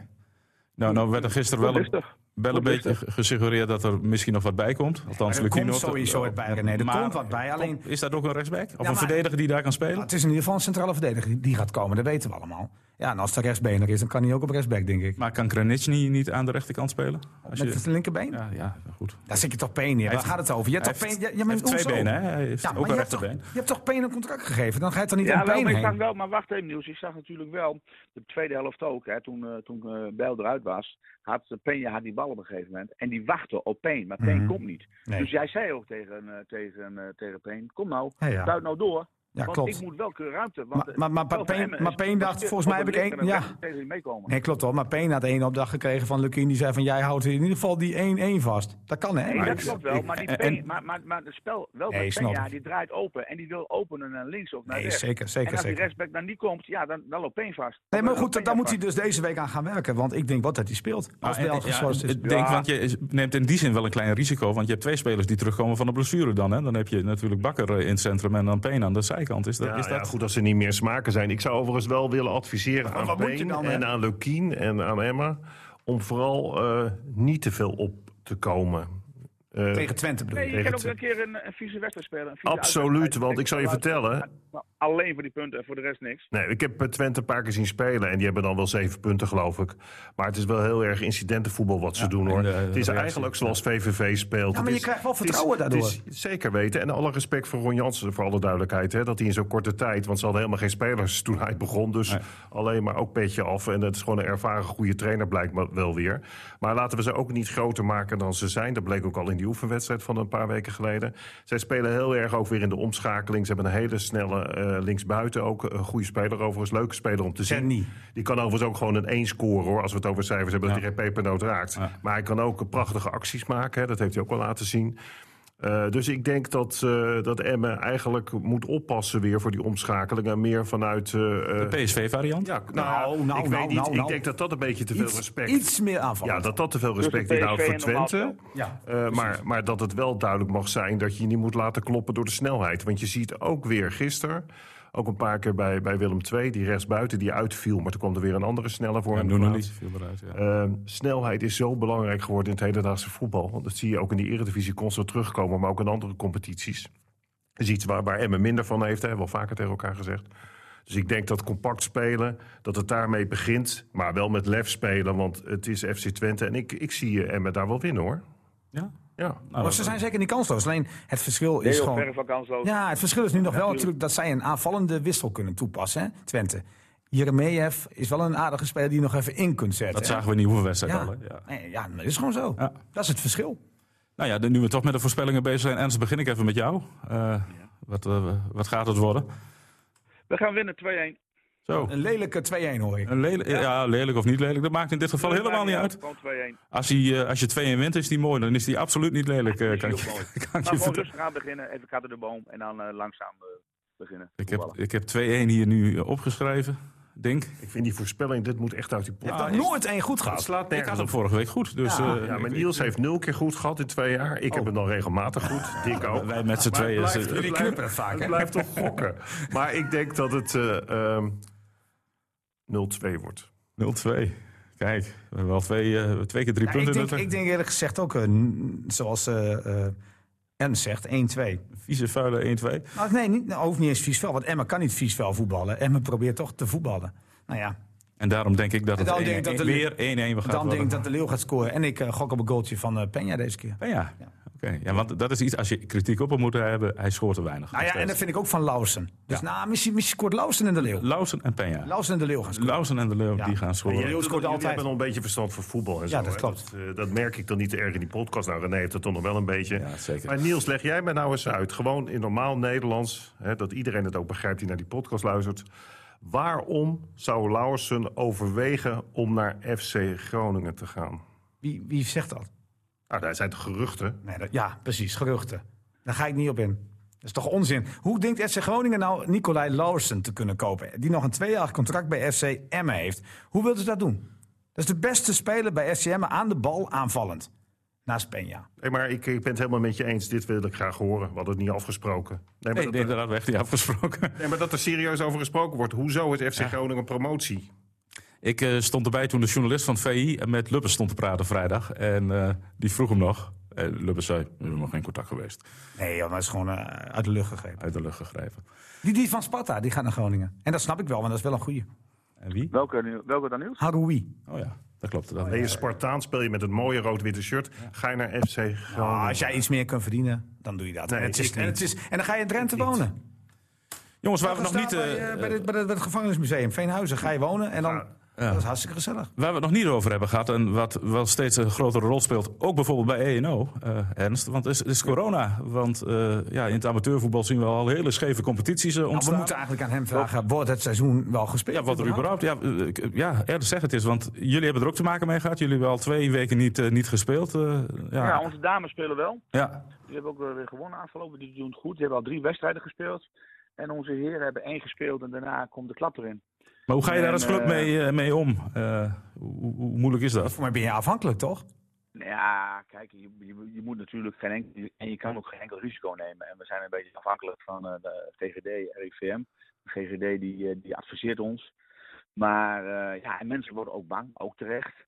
Nou, nou werd er gisteren wel een,
Rustig.
wel een
Goed
beetje gesuggereerd dat er misschien nog wat bij komt. Althans,
Er komt
Lucchino-
sowieso wat bij René. Er
Maar-
komt wat bij. Alleen,
Is dat ook een rechtsback? Of
maar-
een verdediger die daar kan spelen?
het is in ieder geval een centrale verdediger die- die gaat komen. Dat weten we allemaal. Ja, en als de rechtsbener is, dan kan hij ook op rechtsback, denk ik.
Maar kan Kranich niet, niet aan de rechterkant spelen? Als
Met
je,
het linkerbeen?
ja, ja, goed.
Daar zit je toch peen neer. Waar gaat het over? Je hebt
Hij
toch
heeft-
peen... Ja, ja,
hij
maar
heeft twee
hoezo?
benen, hè? Hij heeft
Ja,
ook
maar
een
je hebt, toch,
rechterbeen.
je hebt toch peen een contract gegeven? Dan gaat het toch niet
Ja,
om
wel,
peen
maar, ik zag
heen?
wel, maar wacht even nieuws. Ik zag natuurlijk wel, de tweede helft ook, hè, toen, eh toen eh, Bijl eruit was, had eh, Peña had die bal op een gegeven moment. En die wachtte op Peen, maar Peen komt niet.
Mhm. Nee.
Dus jij zei ook tegen, eh, tegen, eh, tegen Peen, kom nou,
Ja, ja.
stuit nou door.
Ja,
want
klopt.
ik moet wel kunnen ruimte. Want
Maar-
eh,
maar- maar
wel voor
Peen-
Emmen is-
maar Peen dacht,
is-
volgens mij heb ik één-
Dan
ja.
kan ik tegen hem meekomen.
Nee, klopt wel. Maar Peen had één opdracht gekregen van Lukien. Die zei van, jij houdt in ieder geval die 1-1 vast. Dat kan, hè?
Nee,
Maar
dat
ik-
klopt wel,
ik-
maar, die
en-
Peen, maar, maar, maar het spel wel
Nee,
met
snap
Peña,
ik.
die draait open en die wil openen naar links of naar
Nee,
rechts.
zeker,
en
zeker,
als die
zeker.
rechtsback dan niet komt, ja, dan, dan loopt Peen vast.
Nee, maar
Dan loopt
goed, daar
Peña
moet hij
vast.
dus deze week aan gaan werken. Want ik denk wat dat hij speelt. Als
Nou, en-
Bel
ja,
geschorst is.
ik denk,
Ja.
want je is- neemt in die zin wel een klein risico. Want je hebt twee spelers die terugkomen van de blessure dan. Hè? Dan heb je natuurlijk Bakker eh, in het centrum en dan Peen aan de zijkant. Is dat,
Ja,
is
ja,
dat...
goed als ze niet meer smaken zijn. Ik zou overigens wel willen adviseren aan
wat moet je
Been
dan, hè?
en aan Lukien en aan Emma... om vooral eh, niet te veel op te komen. Eh,
Tegen Twente bedoel
Nee,
ik.
je kan ook
Tegen
een keer een, een vieze wedstrijd spelen. een vieze
Absoluut,
uitwedstrijd.
want ik zal je vertellen...
Nou, Alleen voor die punten en voor de rest niks.
Nee, ik heb eh, Twente een paar keer zien spelen en die hebben dan wel zeven punten, geloof ik. Maar het is wel heel erg incidentenvoetbal wat ze doen, hoor.
en de- de
het is
reactie.
eigenlijk zoals VVV speelt.
Ja, maar
Het
je
is-
krijgt wel
het is-
vertrouwen
het
daardoor.
is zeker weten. En alle respect voor Ron Jansen, voor alle duidelijkheid. Hè, dat hij in zo'n korte tijd, want ze hadden helemaal geen spelers toen hij begon. Dus alleen maar ook petje af. En dat is gewoon een ervaren goede trainer, blijkt maar wel weer. Maar laten we ze ook niet groter maken dan ze zijn. Dat bleek ook al in die oefenwedstrijd van een paar weken geleden. Zij spelen heel erg ook weer in de omschakeling. Ze hebben een hele snelle eh linksbuiten ook. Een goede speler overigens, leuke speler om te zien.
Kenny.
Die kan overigens ook gewoon een 1 scoren hoor. Als we het over cijfers hebben, dat hij geen pepernoot raakt. Maar hij kan ook prachtige acties maken. Hè. Dat heeft hij ook wel laten zien. Eh, dus ik denk dat, eh dat Emmen eigenlijk moet oppassen weer voor die omschakeling. En meer vanuit... eh, eh,
PSV-variant?
ja, nou,
Nou, nou,
ik weet
nou,
niet.
nou,
Ik
nou.
denk dat dat een beetje te veel
Iets,
respect...
iets meer aanval.
ja, dat dat te veel respect
PSV
inhoudt voor
en normaal
Twente.
Ja.
Eh, maar, maar dat het wel duidelijk mag zijn dat je je niet moet laten kloppen door de snelheid. Want je ziet ook weer gisteren, ook een paar keer bij, bij Willem II, die rechtsbuiten die uitviel. Maar toen kwam er weer een andere snelle voor.
Ja,
in de
doen er
plaats.
niet veel eruit. Ja.
Eh, snelheid is zo belangrijk geworden in het hedendaagse voetbal. Want dat zie je ook in de Eredivisie constant terugkomen, maar ook in andere competities. Dat is iets waar, waar Emmen minder van heeft, hebben we al vaker tegen elkaar gezegd. Dus ik denk dat compact spelen, dat het daarmee begint. Maar wel met lef spelen, want het is FC Twente. En ik, ik zie eh, Emmen daar wel winnen hoor.
Ja?
Ja.
Nou,
Maar ze zijn zeker niet kansloos. Alleen het verschil
Heel
is
verre
gewoon...
van kansloos.
Ja, het verschil is nu nog wel natuurlijk dat zij een aanvallende wissel kunnen toepassen, hè, Twente. Jeremejeff is wel een aardige speler die je nog even in kunt zetten.
dat
hè.
zagen we in die oefenwedstrijd al.
ja.
hè? Ja.
Nee, ja, dat is gewoon zo.
Ja.
Dat is het verschil.
Nou ja, de- nu we toch met de voorspellingen bezig zijn. Ernst, begin ik even met jou. Eh, wat, eh, wat gaat het worden?
We gaan winnen 2-1.
Zo.
Een lelijke 2-1 hoor ik.
Een lelijk, ja. lelijk of niet lelijk, dat maakt in dit geval helemaal niet uit.
Gewoon 2-1.
Als, hij, eh, als je 2 in wint, is die mooi. Dan is die absoluut niet lelijk. eh, kan ik,
Heel mooi.
kan ik je
Maar gewoon
vertellen.
rustig aan beginnen, even katten de boom en dan eh, langzaam eh, beginnen.
Ik heb,
voetballen.
ik heb 2-1 hier nu eh, opgeschreven. Denk.
Ik vind die voorspelling, dit moet echt uit die pot.
Je hebt nog nooit één goed gehad.
slaat
Ik had
nergens
hem
op.
vorige week goed. Dus,
Ja.
eh,
Ja, maar
ik-
Niels heeft nul keer goed gehad in twee jaar. Ik heb hem dan regelmatig goed. Dik ook.
wij met z'n
Maar het
tweeën.
blijft-
eh,
het blijft-
knipperen vaak, hè?
Het blijft toch gokken. Maar ik denk dat het eh, ehm, 0-2 wordt.
0-2. Kijk, we hebben wel twee, eh, twee keer drie
Ja, ik,
punten.
denk,
Dat-
ik denk eerlijk gezegd ook, eh, n- zoals eh eh, Em zegt, 1-2.
Vieze, vuile 1-2.
Nou, nee, niet, nou, hoeft niet eens vies vel. Want Emma kan niet vies vel voetballen. Emma probeert toch te voetballen. Nou ja,
En daarom denk ik dat het
dan
1-1
denk ik dat de-
weer 1-1 we gaan
dan denk ik dat de Leeuw gaat scoren. En ik eh, gok op een goaltje van eh Peña deze keer.
Ja, Oh ja. Oké. ja, want dat is iets, als je kritiek op hem moet hebben, hij scoort te weinig.
Nou ja, en dat vind ik ook van Lausen. Dus nou, misschien, misschien scoort Lausen en de Leeuw.
Lausen en Peña.
Lausen en de Leeuw gaan scoren.
Lausen en de Leeuw,
Ja.
die gaan scoren.
Ja, Leeuw scoort
Jullie
altijd.
hebben al een beetje verstand voor voetbal. En zo,
dat
hè.
klopt.
Dat, eh, dat merk ik dan niet erg in die podcast. Nou, René heeft dat toch nog wel een beetje.
Ja, zeker.
Maar Niels, leg jij mij nou eens uit. Gewoon in normaal Nederlands. Hè, dat iedereen het ook begrijpt die naar die podcast luistert. Waarom zou Lauwersen overwegen om naar FC Groningen te gaan?
Wie, wie zegt dat?
Nou, daar zijn toch geruchten.
Nee, dat- Ja, precies, geruchten. Daar ga ik niet op in. Dat is toch onzin? Hoe denkt FC Groningen nou Nicolai Lausen te kunnen kopen? Die nog een tweejarig contract bij FC Emmen heeft. Hoe wilt u dat doen? Dat is de beste speler bij FC Emmen aan de bal aanvallend. Naast Peña.
Nee, maar ik, ik ben het helemaal met je eens. Dit wil ik graag horen. We hadden het niet afgesproken. Nee, maar,
Nee,
dat,
nee, dat hadden we echt niet afgesproken.
nee, maar dat er serieus over gesproken wordt. Hoezo is FC Groningen promotie?
Ik eh, stond erbij toen de journalist van het VI met Lubbers stond te praten vrijdag. En eh, die vroeg hem nog. En Lubbers zei, er is nog geen contact geweest.
Nee, joh, dat is gewoon eh, uit de lucht gegrepen.
Uit de lucht gegrepen.
Die, die van Sparta, die gaat naar Groningen. En dat snap ik wel, want dat is wel een goeie.
En wie?
Welke, nu- welke dan nieuws?
Haroui.
Oh ja, dat klopt. Dat
Ben je Spartaan, speel je met het mooie rood-witte shirt. Ga je naar FC Groningen.
Ah, als jij iets meer kunt verdienen, dan doe je dat.
Nee,
en, het
ik
is, en,
niet.
het is, en dan ga je in Drenthe wonen.
Jongens, waar we
Dan
nog niet...
staat bij,
eh,
eh, bij, dit- bij, dit- bij het gevangenismuseum Veenhuizen ga je wonen. En dan,
Ja,
Dat is hartstikke gezellig.
Waar we het nog niet over hebben gehad en wat wel steeds een grotere rol speelt, ook bijvoorbeeld bij ENO, eh, Ernst, want het is, het is corona. Want eh, ja, in het amateurvoetbal zien we al hele scheve competities eh,
Nou, we
ontstaan.
moeten eigenlijk aan hem vragen, wordt het seizoen wel gespeeld?
Ja, wat er überhaupt. Ja, eh, ik- ja eerlijk zeg het is, want jullie hebben er ook te maken mee gehad. Jullie hebben al twee weken niet, eh, niet gespeeld. eh, ja.
Ja,
Ja,
onze dames spelen wel.
ja.
Die hebben ook wel weer gewonnen afgelopen. Die doen het goed. Die hebben al drie wedstrijden gespeeld. En onze heren hebben één gespeeld en daarna komt de klap erin.
Maar hoe ga je daar
En,
als club
eh,
mee, eh, mee om? Eh, hoe, hoe moeilijk is dat?
Voor mij ben je afhankelijk, toch?
Nou Ja, kijk, je, je, je moet natuurlijk geen enkel, en je kan ook geen enkel risico nemen. En we zijn een beetje afhankelijk van eh, de GGD, RIVM. De GGD die, eh, die adviseert ons. Maar eh, ja, en mensen worden ook bang, ook terecht.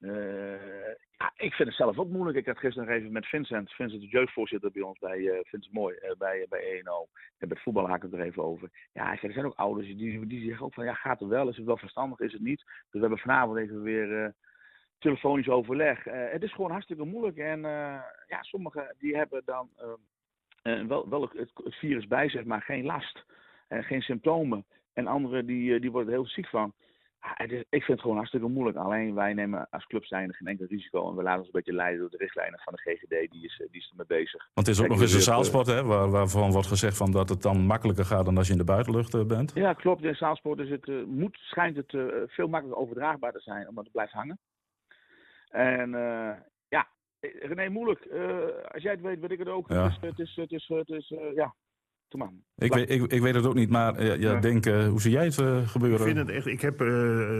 Eh, ja, ik vind het zelf ook moeilijk. Ik had gisteren nog even met Vincent, Vincent de jeugdvoorzitter bij ons, bij eh Vincent Mooi, eh, bij, bij ENO. En met voetbal haak ik het er even over. Ja, hij zei, er zijn ook ouders die, die zeggen ook van, ja, gaat het wel? Is het wel verstandig? Is het niet? Dus we hebben vanavond even weer... eh, telefonisch overleg. Eh, het is gewoon hartstikke moeilijk. En eh, ja, sommigen die hebben dan eh, eh, wel, wel het, het virus bij zich, maar geen last. en geen symptomen. En anderen die, eh, die worden er heel ziek van. Ah, het is- ik vind het gewoon hartstikke moeilijk. Alleen wij nemen als club zijn geen enkel risico. En we laten ons een beetje leiden door de richtlijnen van de GGD. Die is, eh, die is ermee bezig.
Want het is ook
Kijk,
nog eens een
jullie hebben-
zaalsport, hè, waar, waarvan wordt gezegd van dat het dan makkelijker gaat dan als je in de buitenlucht eh, bent.
Ja, klopt. In zaalsport is het, eh, moet, schijnt het eh, veel makkelijker overdraagbaar te zijn, omdat het blijft hangen. En eh, ja, eh, René, moeilijk. Eh, als jij het weet, weet ik het ook.
Ja.
Het is, het is, het is, het is eh, ja, kom aan.
Ik, weet, ik, ik weet het ook niet, maar eh, ja,
Ja.
denk, eh, hoe zie jij het eh,
Ik
gebeuren?
vind het echt, ik heb eh,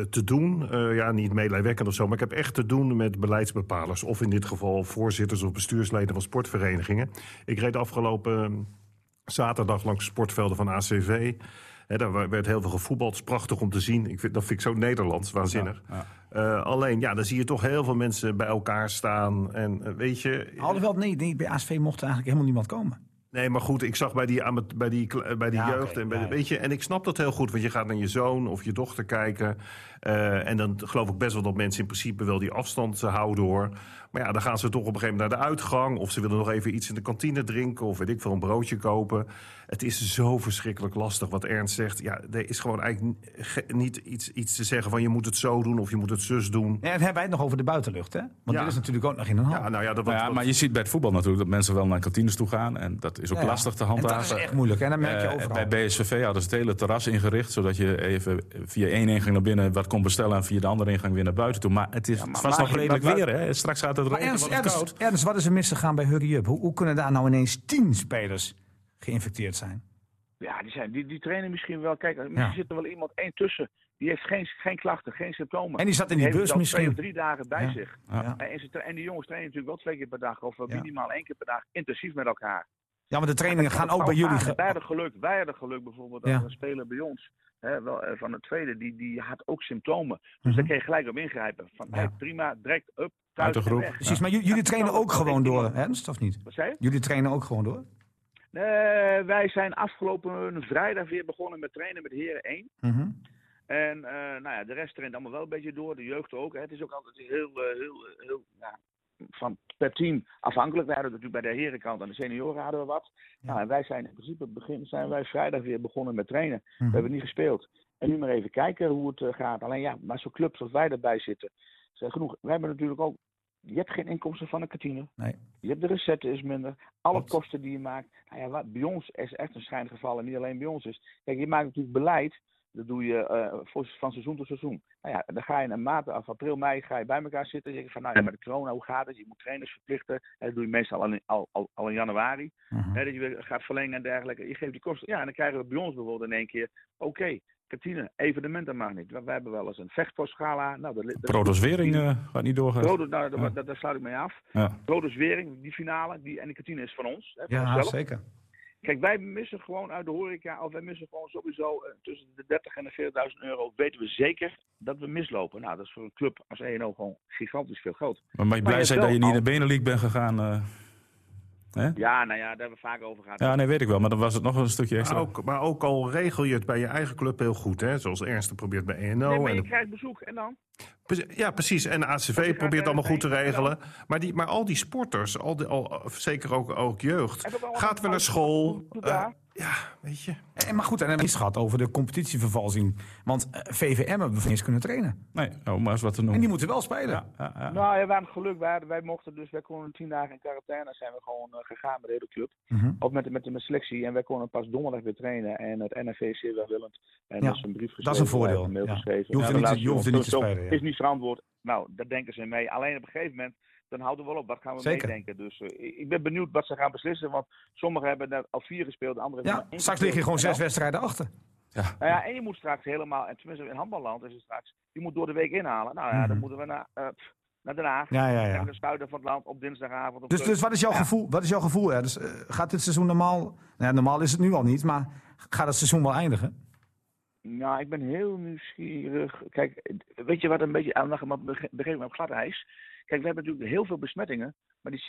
te doen, eh, ja, niet meelijwekkend of zo, maar ik heb echt te doen met beleidsbepalers. Of in dit geval voorzitters of bestuursleden van sportverenigingen. Ik reed afgelopen eh, zaterdag langs sportvelden van ACV. Hè, daar werd heel veel gevoetbald. Het is prachtig om te zien. Ik vind, dat vind ik zo Nederlands, waanzinnig. Eh, alleen, ja, dan zie je toch heel veel mensen bij elkaar staan. En eh, weet je,
Alhoewel, nee, nee, bij ASV mocht er eigenlijk helemaal niemand komen.
Nee, maar goed, ik zag bij die, ama- bij die, kle- bij die
Ja,
jeugd
oké,
en bij
ja,
de,
ja.
weet je, en ik snap dat heel goed, want je gaat naar je zoon of je dochter kijken. eh, en dan geloof ik best wel dat mensen in principe wel die afstand eh, houden hoor. Maar ja, dan gaan ze toch op een gegeven moment naar de uitgang. Of ze willen nog even iets in de kantine drinken of weet ik veel, een broodje kopen. Het is zo verschrikkelijk lastig wat Ernst zegt. Ja, er is gewoon eigenlijk n- ge- niet iets, iets te zeggen van je moet het zo doen of je moet het zus doen.
Ja, en hebben wij het nog over de buitenlucht, hè? Want
Ja.
dit is natuurlijk ook nog in een hal.
Ja, nou ja, dat
Nou ja,
wat-
maar je ziet bij het voetbal natuurlijk dat mensen wel naar kantines toe gaan. En dat is ook
Ja, ja.
lastig te
En dat
handhaven.
is echt moeilijk, en dat merk je
Eh,
overal.
bij BSVV hadden ze het hele terras ingericht. Zodat je even via één ingang naar binnen wat kon bestellen. En via de andere ingang weer naar buiten toe. Maar het is
maar
het was
maak
nog
je-
redelijk
maar-
weer. Hè? Straks gaat het
Maar
regenen,
Ernst,
wordt het
Ernst,
koud.
Ernst, wat is er misgegaan bij Hurry Up? Hoe, hoe kunnen daar nou ineens tien spelers geïnfecteerd zijn?
Ja, die, zijn, die, die trainen misschien wel. Kijk, eh, misschien zit er wel iemand één tussen. Die heeft geen, geen klachten, geen symptomen.
En die zat in die
heeft
bus
al twee
misschien.
of drie dagen bij
Ja.
zich.
Ja.
En, en ze tra- en die jongens trainen natuurlijk wel twee keer per dag. Of eh,
Ja.
minimaal één keer per dag intensief met elkaar.
Ja, maar de trainingen gaan ook bij
Paul
jullie.
Paas, Wij
ge-
hadden geluk, wij hadden geluk bijvoorbeeld
Ja.
dat een speler bij ons, hè, wel, eh, van de tweede, die, die had ook symptomen. Dus daar kun je gelijk op ingrijpen. Van,
Mhm. Ja.
hey, prima, direct up,
Uit
thuis
de
en
groep.
weg.
Precies, maar ju- jullie trainen
kan
ook
ook.
gewoon
Ik-
door, Ernst, of niet?
Wat zei je?
Jullie trainen ook gewoon door?
Nee, wij zijn afgelopen vrijdag weer begonnen met trainen met heren 1.
Mhm.
En eh, nou ja, de rest traint allemaal wel een beetje door, de jeugd ook. hè. Het is ook altijd heel, eh, heel, eh, heel ja, van per team afhankelijk. Wij hadden natuurlijk bij de herenkant en de senioren hadden we wat. Nou, en wij zijn in principe begin zijn wij vrijdag weer begonnen met trainen.
Mhm.
We hebben niet gespeeld. En nu maar even kijken hoe het eh, gaat. Alleen ja, maar zo'n club zoals wij erbij zitten, zijn genoeg. Wij hebben natuurlijk ook. Je hebt geen inkomsten van de kantine.
Nee.
Je hebt de recepten is minder. Alle kosten die je maakt. Nou ja, wat bij ons is echt een schijngeval en niet alleen bij ons is. Kijk, je maakt natuurlijk beleid. Dat doe je eh, voor- van seizoen tot seizoen. Nou ja, dan ga je in maart af april, mei ga je bij elkaar zitten. Je zegt van, nou ja, met de corona, hoe gaat het? Je moet trainers verplichten. En dat doe je meestal al in, al, al, al in januari.
Mhm.
Hè, dat je weer gaat verlengen en dergelijke. Je geeft die kosten. Ja, en dan krijgen we bij ons bijvoorbeeld in één keer... Oké, kantine, evenementen mag niet. We, we hebben wel eens een vechtpostgala. Nou, dat, li- dat,
Protoswering eh, gaat niet doorgaan.
Rode- nou, daar- daar- daar sluit ik mee af.
Ja.
Rode Zwering, die finale, die, en de kantine is van ons. Hè, van
Ja,
onszelf.
zeker.
Kijk, wij missen gewoon uit de horeca, of wij missen gewoon sowieso eh, tussen de 30 en de 40.000 euro, weten we zeker dat we mislopen. Nou, dat is voor een club als ENO gewoon gigantisch veel geld.
Maar mag je
Maar
blij
je
zijn
hebt
dat je
wel
niet naar Benelink bent gegaan? eh?
Ja, nou ja, daar hebben we vaak over gehad.
Ja, nee, weet ik wel. Maar dan was het nog een stukje extra.
Maar
Nou.
ook, maar ook al regel je het bij je eigen club heel goed, hè? zoals Ernst het probeert bij ENO.
Nou,
nee, maar
en
je
de-
krijgt bezoek en dan?
Pre- Ja, precies. En de ACV probeert het allemaal goed te regelen. Maar, die, maar al die sporters, al die, al, zeker ook, ook jeugd,
Hebben we allemaal
gaat weer naar
fouten?
school.
Doe
eh,
daar.
Ja, weet je.
En, Eh, maar goed, en dan is het gehad over de competitievervalsing. Want eh, VVM hebben we eens kunnen trainen.
Nee, nou, maar eens wat te
En die
noemen.
moeten wel spelen.
Ja, ja.
Nou ja, we hadden geluk. Wij, wij mochten dus, wij konden tien dagen in quarantaine zijn we gewoon eh, gegaan met de hele club.
Mhm.
Of met, de- met de met de selectie. En wij konden pas donderdag weer trainen. En het NRV is zeer welwillend. En
Ja,
dat is een brief geschreven.
dat is een voordeel,
wij hebben Een
ja.
mail geschreven.
Je hoeft er
En
niet te-
laat
je hoeft er niet te
zo- zo
spelen, ja.
Is niet verantwoord. Nou, daar denken ze mee. Alleen op een gegeven moment, dan houden we wel op. Wat gaan we
Zeker.
meedenken? Dus eh, ik- ik ben benieuwd wat ze gaan beslissen. Want sommigen hebben net al vier gespeeld. de Anderen hebben
Ja,
maar één
straks
gespeeld.
lig je gewoon
En
zes
dan-
wedstrijden achter.
nou ja, en je moet straks helemaal, en tenminste in handballand is het straks, je moet door de week inhalen. Nou ja, dan
Mhm.
moeten we naar, eh, pff, naar Den Haag.
Ja, ja,
En
ja.
naar het zuiden van het land op dinsdagavond. Op
Dus,
zondag.
dus wat is jouw gevoel? Wat is jouw gevoel hè? Dus, eh, gaat dit seizoen normaal... Nou, ja, normaal is het nu al niet, maar gaat het seizoen wel eindigen?
Nou, ik ben heel nieuwsgierig. Kijk, weet je wat een beetje aandacht maar bege- begreep me op glad ijs? Kijk, we hebben natuurlijk heel veel besmettingen, maar die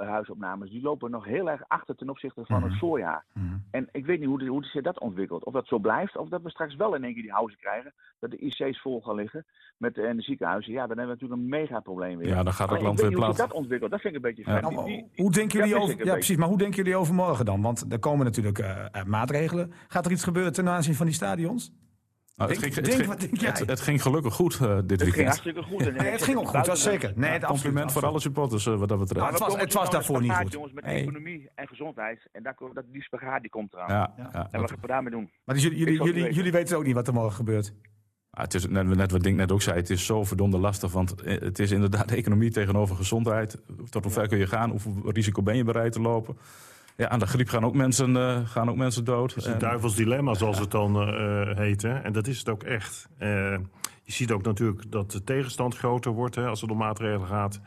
ziekenhuisopnames die lopen nog heel erg achter ten opzichte van het voorjaar.
Mhm.
En ik weet niet hoe, de, hoe zich dat ontwikkelt. Of dat zo blijft, of dat we straks wel in één keer die houden krijgen, dat de IC's vol gaan liggen met eh, de, en de ziekenhuizen. Ja, dan hebben we natuurlijk een megaprobleem weer.
Ja, dan gaat het
Alleen,
land
ik weet
weer
niet hoe zich
plat.
dat ontwikkelt. Dat vind ik een beetje
Ja.
gek.
Nou,
Die-
Nou,
die-
hoe denken jullie
dat is
over,
ik een
ja,
beetje.
precies, maar hoe denken jullie over morgen dan? Want er komen natuurlijk eh, eh, maatregelen. Gaat er iets gebeuren ten aanzien van die stadions?
Nou,
Denk-
het,
denk,
ging,
wat
het,
denk
ging,
jij?
het, het ging gelukkig goed eh, dit
Het ging
weekend.
hartstikke goed. En
Nee, het ging ook goed, dat is zeker. Nee, het
Compliment voor alle supporters eh, wat dat
Nou,
betreft.
Maar het was-
jongens,
was
jongens,
daarvoor niet
spagaat,
goed.
Jongens, met
Nee.
economie en gezondheid. En daar, komt- dat, die spagaat die komt eraan.
Ja,
Ja.
ja,
En wat
dat-
gaan we daarmee doen?
Maar dus jullie,
Ik
jullie,
zou het
jullie,
niet
jullie weten ook niet wat er morgen gebeurt.
Ah, het is net, net wat Dink net ook zei, het is zo verdomde lastig. Want eh, het is inderdaad economie tegenover gezondheid. Tot hoe ver kun je gaan? Hoeveel risico ben je bereid te lopen? Ja, aan de griep gaan ook mensen, eh, gaan ook mensen dood.
Het is een
En-
duivels dilemma, zoals het dan eh, heet. Hè? En dat is het ook echt. Eh, je ziet ook natuurlijk dat de tegenstand groter wordt hè, als het om maatregelen gaat.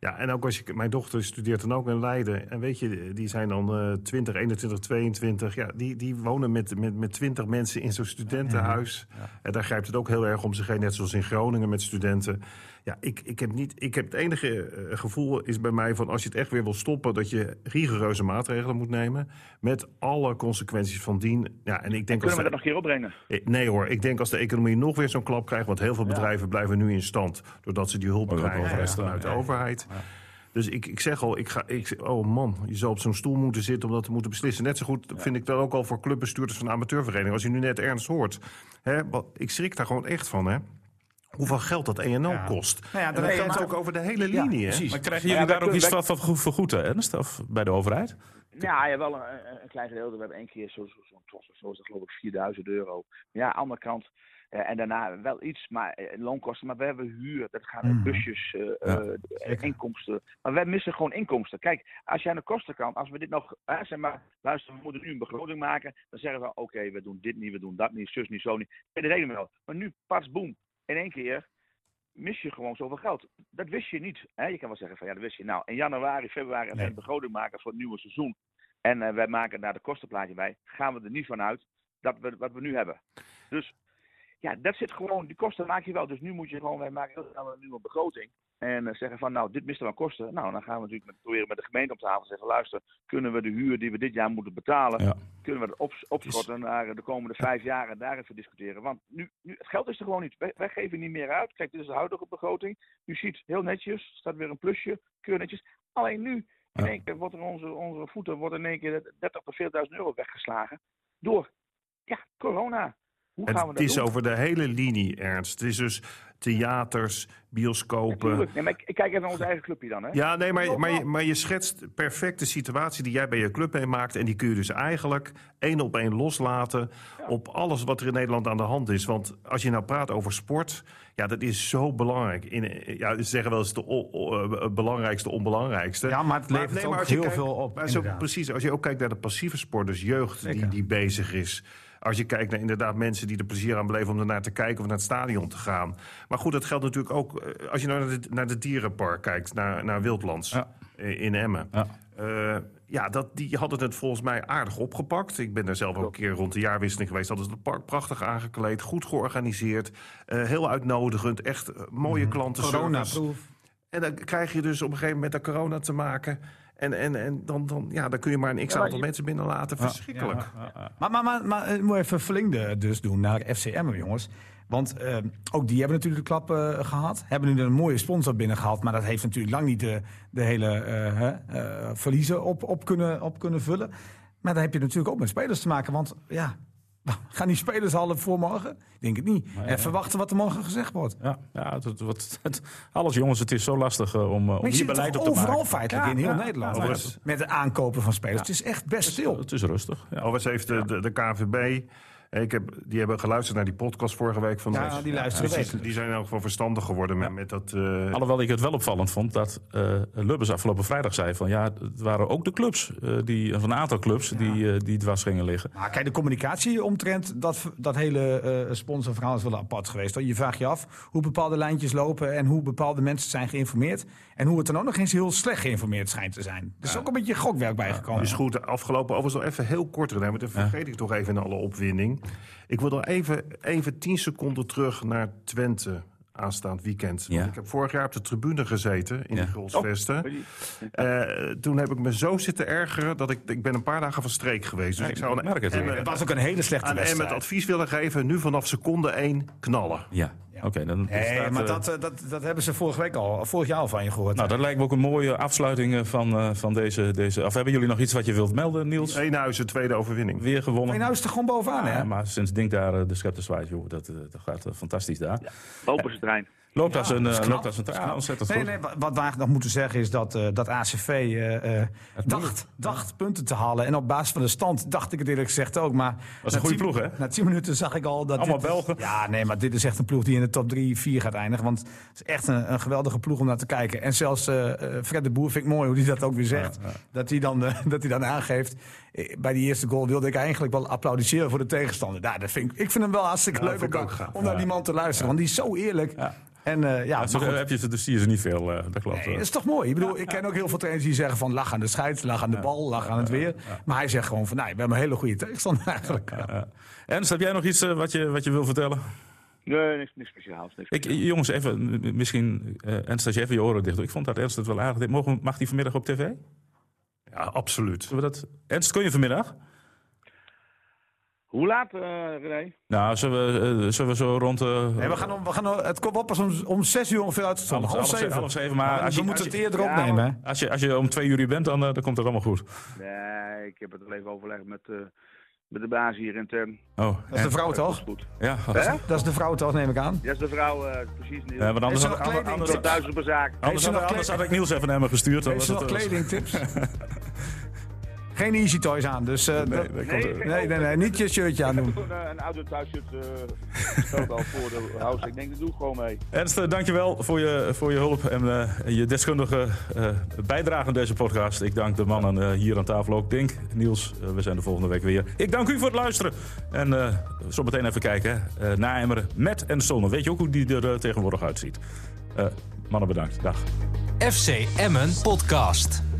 Ja, en ook als je. Mijn dochter studeert dan ook in Leiden. En weet je, die zijn dan eh 20, 21, 22. Ja, die, die wonen met, met, met 20 mensen in zo'n studentenhuis. En daar grijpt het ook heel erg om zich heen. Net zoals in Groningen met studenten. Ja, ik, ik heb niet. Ik heb het enige eh, gevoel is bij mij van als je het echt weer wil stoppen, dat je rigoureuze maatregelen moet nemen. Met alle consequenties van dien. Ja, en ik denk als
Kunnen we
de-
dat nog een keer opbrengen?
eh, Nee hoor, ik denk als de economie nog weer zo'n klap krijgt... want heel veel bedrijven blijven nu in stand... doordat ze die hulp
Door de
krijgen
overheid, ja.
vanuit de
Ja.
overheid. Dus ik, ik zeg al, ik ga, ik, oh man, je zou op zo'n stoel moeten zitten... om dat te moeten beslissen. Net zo goed vind ik dat ook al voor clubbestuurders van amateurverenigingen. Als je nu net Ernst hoort. Hè, wat- ik schrik daar gewoon echt van, hè. Hoeveel geld dat ENO kost.
Nou ja,
en dat
dan heb je
gaat
maar-
ook over de hele linie, hè.
precies.
Maar krijgen jullie
Ja, wij
daar ook iets
kunnen-
van van goed- vergoed, hè, Ernst? Of bij de overheid?
Ja, ja wel een, een- een klein gedeelte. We hebben één keer zo'n zo, zo, zo'n trots of zo, is dat geloof ik 4000 euro. Ja, aan de andere kant. eh, en daarna wel iets, maar eh, loonkosten. Maar we hebben huur, dat gaan
Mhm.
busjes, eh, eh,
zeker.
inkomsten. Maar wij missen gewoon inkomsten. Kijk, als je aan de kostenkant, als we dit nog, eh, zeg maar, luister, we moeten nu een begroting maken. Dan zeggen we, oké, we doen dit niet, we doen dat niet, zus niet, zo niet. En dat deden we wel. Maar nu, pas boem, in één keer mis je gewoon zoveel geld. Dat wist je niet. Hè? Je kan wel zeggen van, ja, dat wist je. Nou, in januari, februari gaan we
Nee.
een begroting maken voor het nieuwe seizoen. En eh, wij maken daar de kostenplaatje bij. Gaan we er niet van uit dat we wat we nu hebben. Dus ja, dat zit gewoon, die kosten maak je wel. Dus nu moet je gewoon, wij maken heel snel een nieuwe begroting. En eh, zeggen van, nou, dit mist er wel kosten. Nou, dan gaan we natuurlijk met, proberen met de gemeente op tafel te zeggen, luister, kunnen we de huur die we dit jaar moeten betalen,
Ja.
kunnen we dat op, opschorten naar eh, de komende vijf jaar en daar even discussiëren. Want nu, nu, het geld is er gewoon niet. Wij, wij geven niet meer uit. Kijk, dit is de huidige begroting. U ziet, heel netjes, staat weer een plusje, keurig netjes. Alleen nu, in
Ja.
één keer wordt er onze, onze voeten wordt in één keer 30 tot 40.000 euro weggeslagen door, ja, corona. Hoe gaan we dat
Het is
doen?
over de hele linie, Ernst. Het is dus theaters, bioscopen...
Natuurlijk. Nee, maar ik, ik kijk even naar ons eigen clubje dan, hè?
Ja, nee, maar, maar, je, maar je schetst perfect de situatie die jij bij je club meemaakt. En die kun je dus eigenlijk één op één loslaten op alles wat er in Nederland aan de hand is. Want als je nou praat over sport, ja, dat is zo belangrijk. In, ja, ze zeggen wel eens de o- o- eh, belangrijkste, onbelangrijkste.
Ja, maar het levert ook
als je
heel veel op,
maar zo-
inderdaad.
precies, als je ook kijkt naar de passieve sport, dus jeugd die,
Zeker.
die bezig is. Als je kijkt naar inderdaad mensen die er plezier aan beleven om ernaar te kijken of naar het stadion te gaan. Maar goed, dat geldt natuurlijk ook eh, als je nou naar de, naar de dierenpark kijkt, naar, naar Wildlands
Ja.
eh, in Emmen.
Ja.
Eh, ja, dat, die hadden het volgens mij aardig opgepakt. Ik ben daar zelf ook een keer rond de jaarwisseling geweest. Hadden ze het park prachtig aangekleed, goed georganiseerd, eh, heel uitnodigend, echt eh, mooie
Mhm.
klantenservice.
Coronaproof.
En dan krijg je dus op een gegeven moment met de corona te maken. En, en, en dan, dan, ja, dan kun je maar een x-aantal mensen binnenlaten. Verschrikkelijk.
Maar, maar, maar, maar eh, moet even flink dus doen naar FCM, jongens. Want eh, ook die hebben natuurlijk de klap eh, gehad. Hebben nu een mooie sponsor binnengehaald. Maar dat heeft natuurlijk lang niet de, de hele eh, hè, eh, verliezen op, op, kunnen, op kunnen vullen. Maar dan heb je natuurlijk ook met spelers te maken. Want ja, gaan die spelers halen voor morgen? Ik denk het niet. En verwachten wat er morgen gezegd wordt.
Ja, ja het, het- wat, het- alles jongens, het is zo lastig eh, om, eh, om
Maar je
hier
ziet het
beleid op
toch
te maken.
overal feitelijk
Ja,
in heel
ja,
Nederland.
ja,
Overigens-
met het aankopen van spelers. Het is echt best
ja,
stil.
het is rustig. Ja.
Overigens heeft de, de, de KVB. Ik heb, die hebben geluisterd naar die podcast vorige week van
Ja,
ons.
die luisteren
Dus
wekelijks.
Die zijn in elk geval verstandig geworden met, met dat. eh,
Alhoewel ik het wel opvallend vond dat eh Lubbers afgelopen vrijdag zei van ja, het waren ook de clubs, eh, die, of een aantal clubs die, eh die dwars gingen liggen.
Maar kijk, de communicatie omtrent dat, dat hele eh, sponsorverhaal is wel apart geweest. hoor. Je vraagt je af hoe bepaalde lijntjes lopen en hoe bepaalde mensen zijn geïnformeerd. En hoe het dan ook nog eens heel slecht geïnformeerd schijnt te zijn. Er is ook een beetje gokwerk bijgekomen.
Is goed, afgelopen. Overigens nog even heel kort, René, want dat vergeet ik toch even in alle opwinding. Ik wil nog even, even tien seconden terug naar Twente aanstaand weekend. Want
Ja.
Ik heb vorig jaar op de tribune gezeten in
Ja.
de Gulsvesten. Eh, toen heb ik me zo zitten ergeren dat ik, ik ben een paar dagen van streek geweest. Dus ik zou
ik merk het
Emmen-
weer.
Het was ook een hele slechte
aan Emmen het
wedstrijd.
advies willen geven, nu vanaf seconde 1 knallen.
Ja, oké. dan
Nee,
staat,
maar
eh,
dat, eh, dat, dat hebben ze vorige week al, vorig jaar al van je gehoord.
nou, dat lijkt me ook een mooie afsluiting eh, van, eh, van deze, deze... Of hebben jullie nog iets wat je wilt melden, Niels?
Eenhuizen, tweede overwinning.
Weer gewonnen.
Nee, nou is het er gewoon bovenaan, hè?
Ja, maar sinds Dink daar eh, de scepter zwaait, joh, dat, eh, dat gaat eh, fantastisch daar.
Lopen ze trein.
Loopt als een,
dat is
eh,
knap.
loopt als een trein. ontzettend
Nee,
goed.
nee, wa- wat we eigenlijk nog moeten zeggen is dat, eh, dat ACV eh, eh, dacht, dacht punten te halen. En op basis van de stand dacht ik het eerlijk gezegd ook. Maar
is
na
een goede
tien-
ploeg, hè?
Na tien minuten zag ik al dat...
Allemaal
dit is-
Belgen.
ja, nee, maar dit is echt een ploeg die in de top 3, 4 gaat eindigen. Want het is echt een, een geweldige ploeg om naar te kijken. En zelfs eh, eh, Fred de Boer vind ik mooi hoe hij dat ook weer zegt. Dat, hij dan, eh, dat hij dan aangeeft. eh, Bij die eerste goal wilde ik eigenlijk wel applaudisseren voor de tegenstander. Nou, dat vind ik, ik vind hem wel hartstikke
Ja,
leuk om,
vind ik ook
dan-
gaaf.
om naar die man te luisteren. Want die is zo eerlijk.
Ja.
En eh, ja,
Ja, zo
maar goed.
heb je ze, dus zie je ze niet veel, eh, dat klopt.
Nee,
eh.
dat is toch mooi? Ik bedoel, ik ken ook heel veel trainers die zeggen van lach aan de scheids, lach aan de bal, lach aan het weer. Maar hij zegt gewoon van nee, we hebben een hele goede tegenstander eigenlijk.
Ja. Ernst, heb jij nog iets eh, wat, je, wat je wil vertellen?
Nee, niks, niks speciaals. Niks
Ik, eh, jongens, even, m- misschien, eh Ernst, als je even je oren dicht doet. Ik vond dat Ernst het wel aardig deed. Mogen, mag die vanmiddag op tv? Zullen
Ja, absoluut.
we dat? Ernst, kun je vanmiddag?
Hoe laat, eh René?
Nou, zullen we, eh, zullen we zo rond... eh
Nee, we gaan om, we gaan om- het komt wel pas om, om zes uur ongeveer uit te
half,
stonden. Half zeven. dus
half zeven, maar
we
als je,
moeten
als,
het
je,
eerder
Ja,
opnemen. hè?
als, je, als je om twee uur hier bent, dan, eh, dan komt het allemaal goed.
Nee, ik heb het al even overlegd met, eh, met de baas hier intern.
Oh,
Dat is de vrouw toch?
Goed.
ja.
Hè?
Dat is de vrouw toch, neem ik aan.
Ja, is de vrouw eh, precies niet.
Ja, want anders,
Is er nog
had-
kleding?
anders,
Tot
anders,
duizend per zaak.
Heeft ze nog
had- anders
kleding?
had ik Niels even naar me gestuurd. Dan
Heeft
was
ze nog
het, eh,
kledingtips? Geen easy toys aan, dus eh, dat- nee,
nee,
Nee,
komt, eh,
geen-
nee, nee, niet je shirtje aan doen.
Toen, eh, een oude thuisjut stond al voor de house. Ik denk, dat doe ik gewoon mee.
Ernst, eh, dankjewel voor je, voor je hulp en eh, je deskundige eh, bijdrage aan deze podcast. Ik dank de mannen eh, hier aan tafel ook. Dink, Niels, eh, we zijn de volgende week weer. Ik dank u voor het luisteren. En eh zo meteen even kijken. hè. Eh Naemmeren met en zonder. Weet je ook hoe die er eh, tegenwoordig uitziet? Eh, mannen, bedankt. Dag.
FC Emmen Podcast.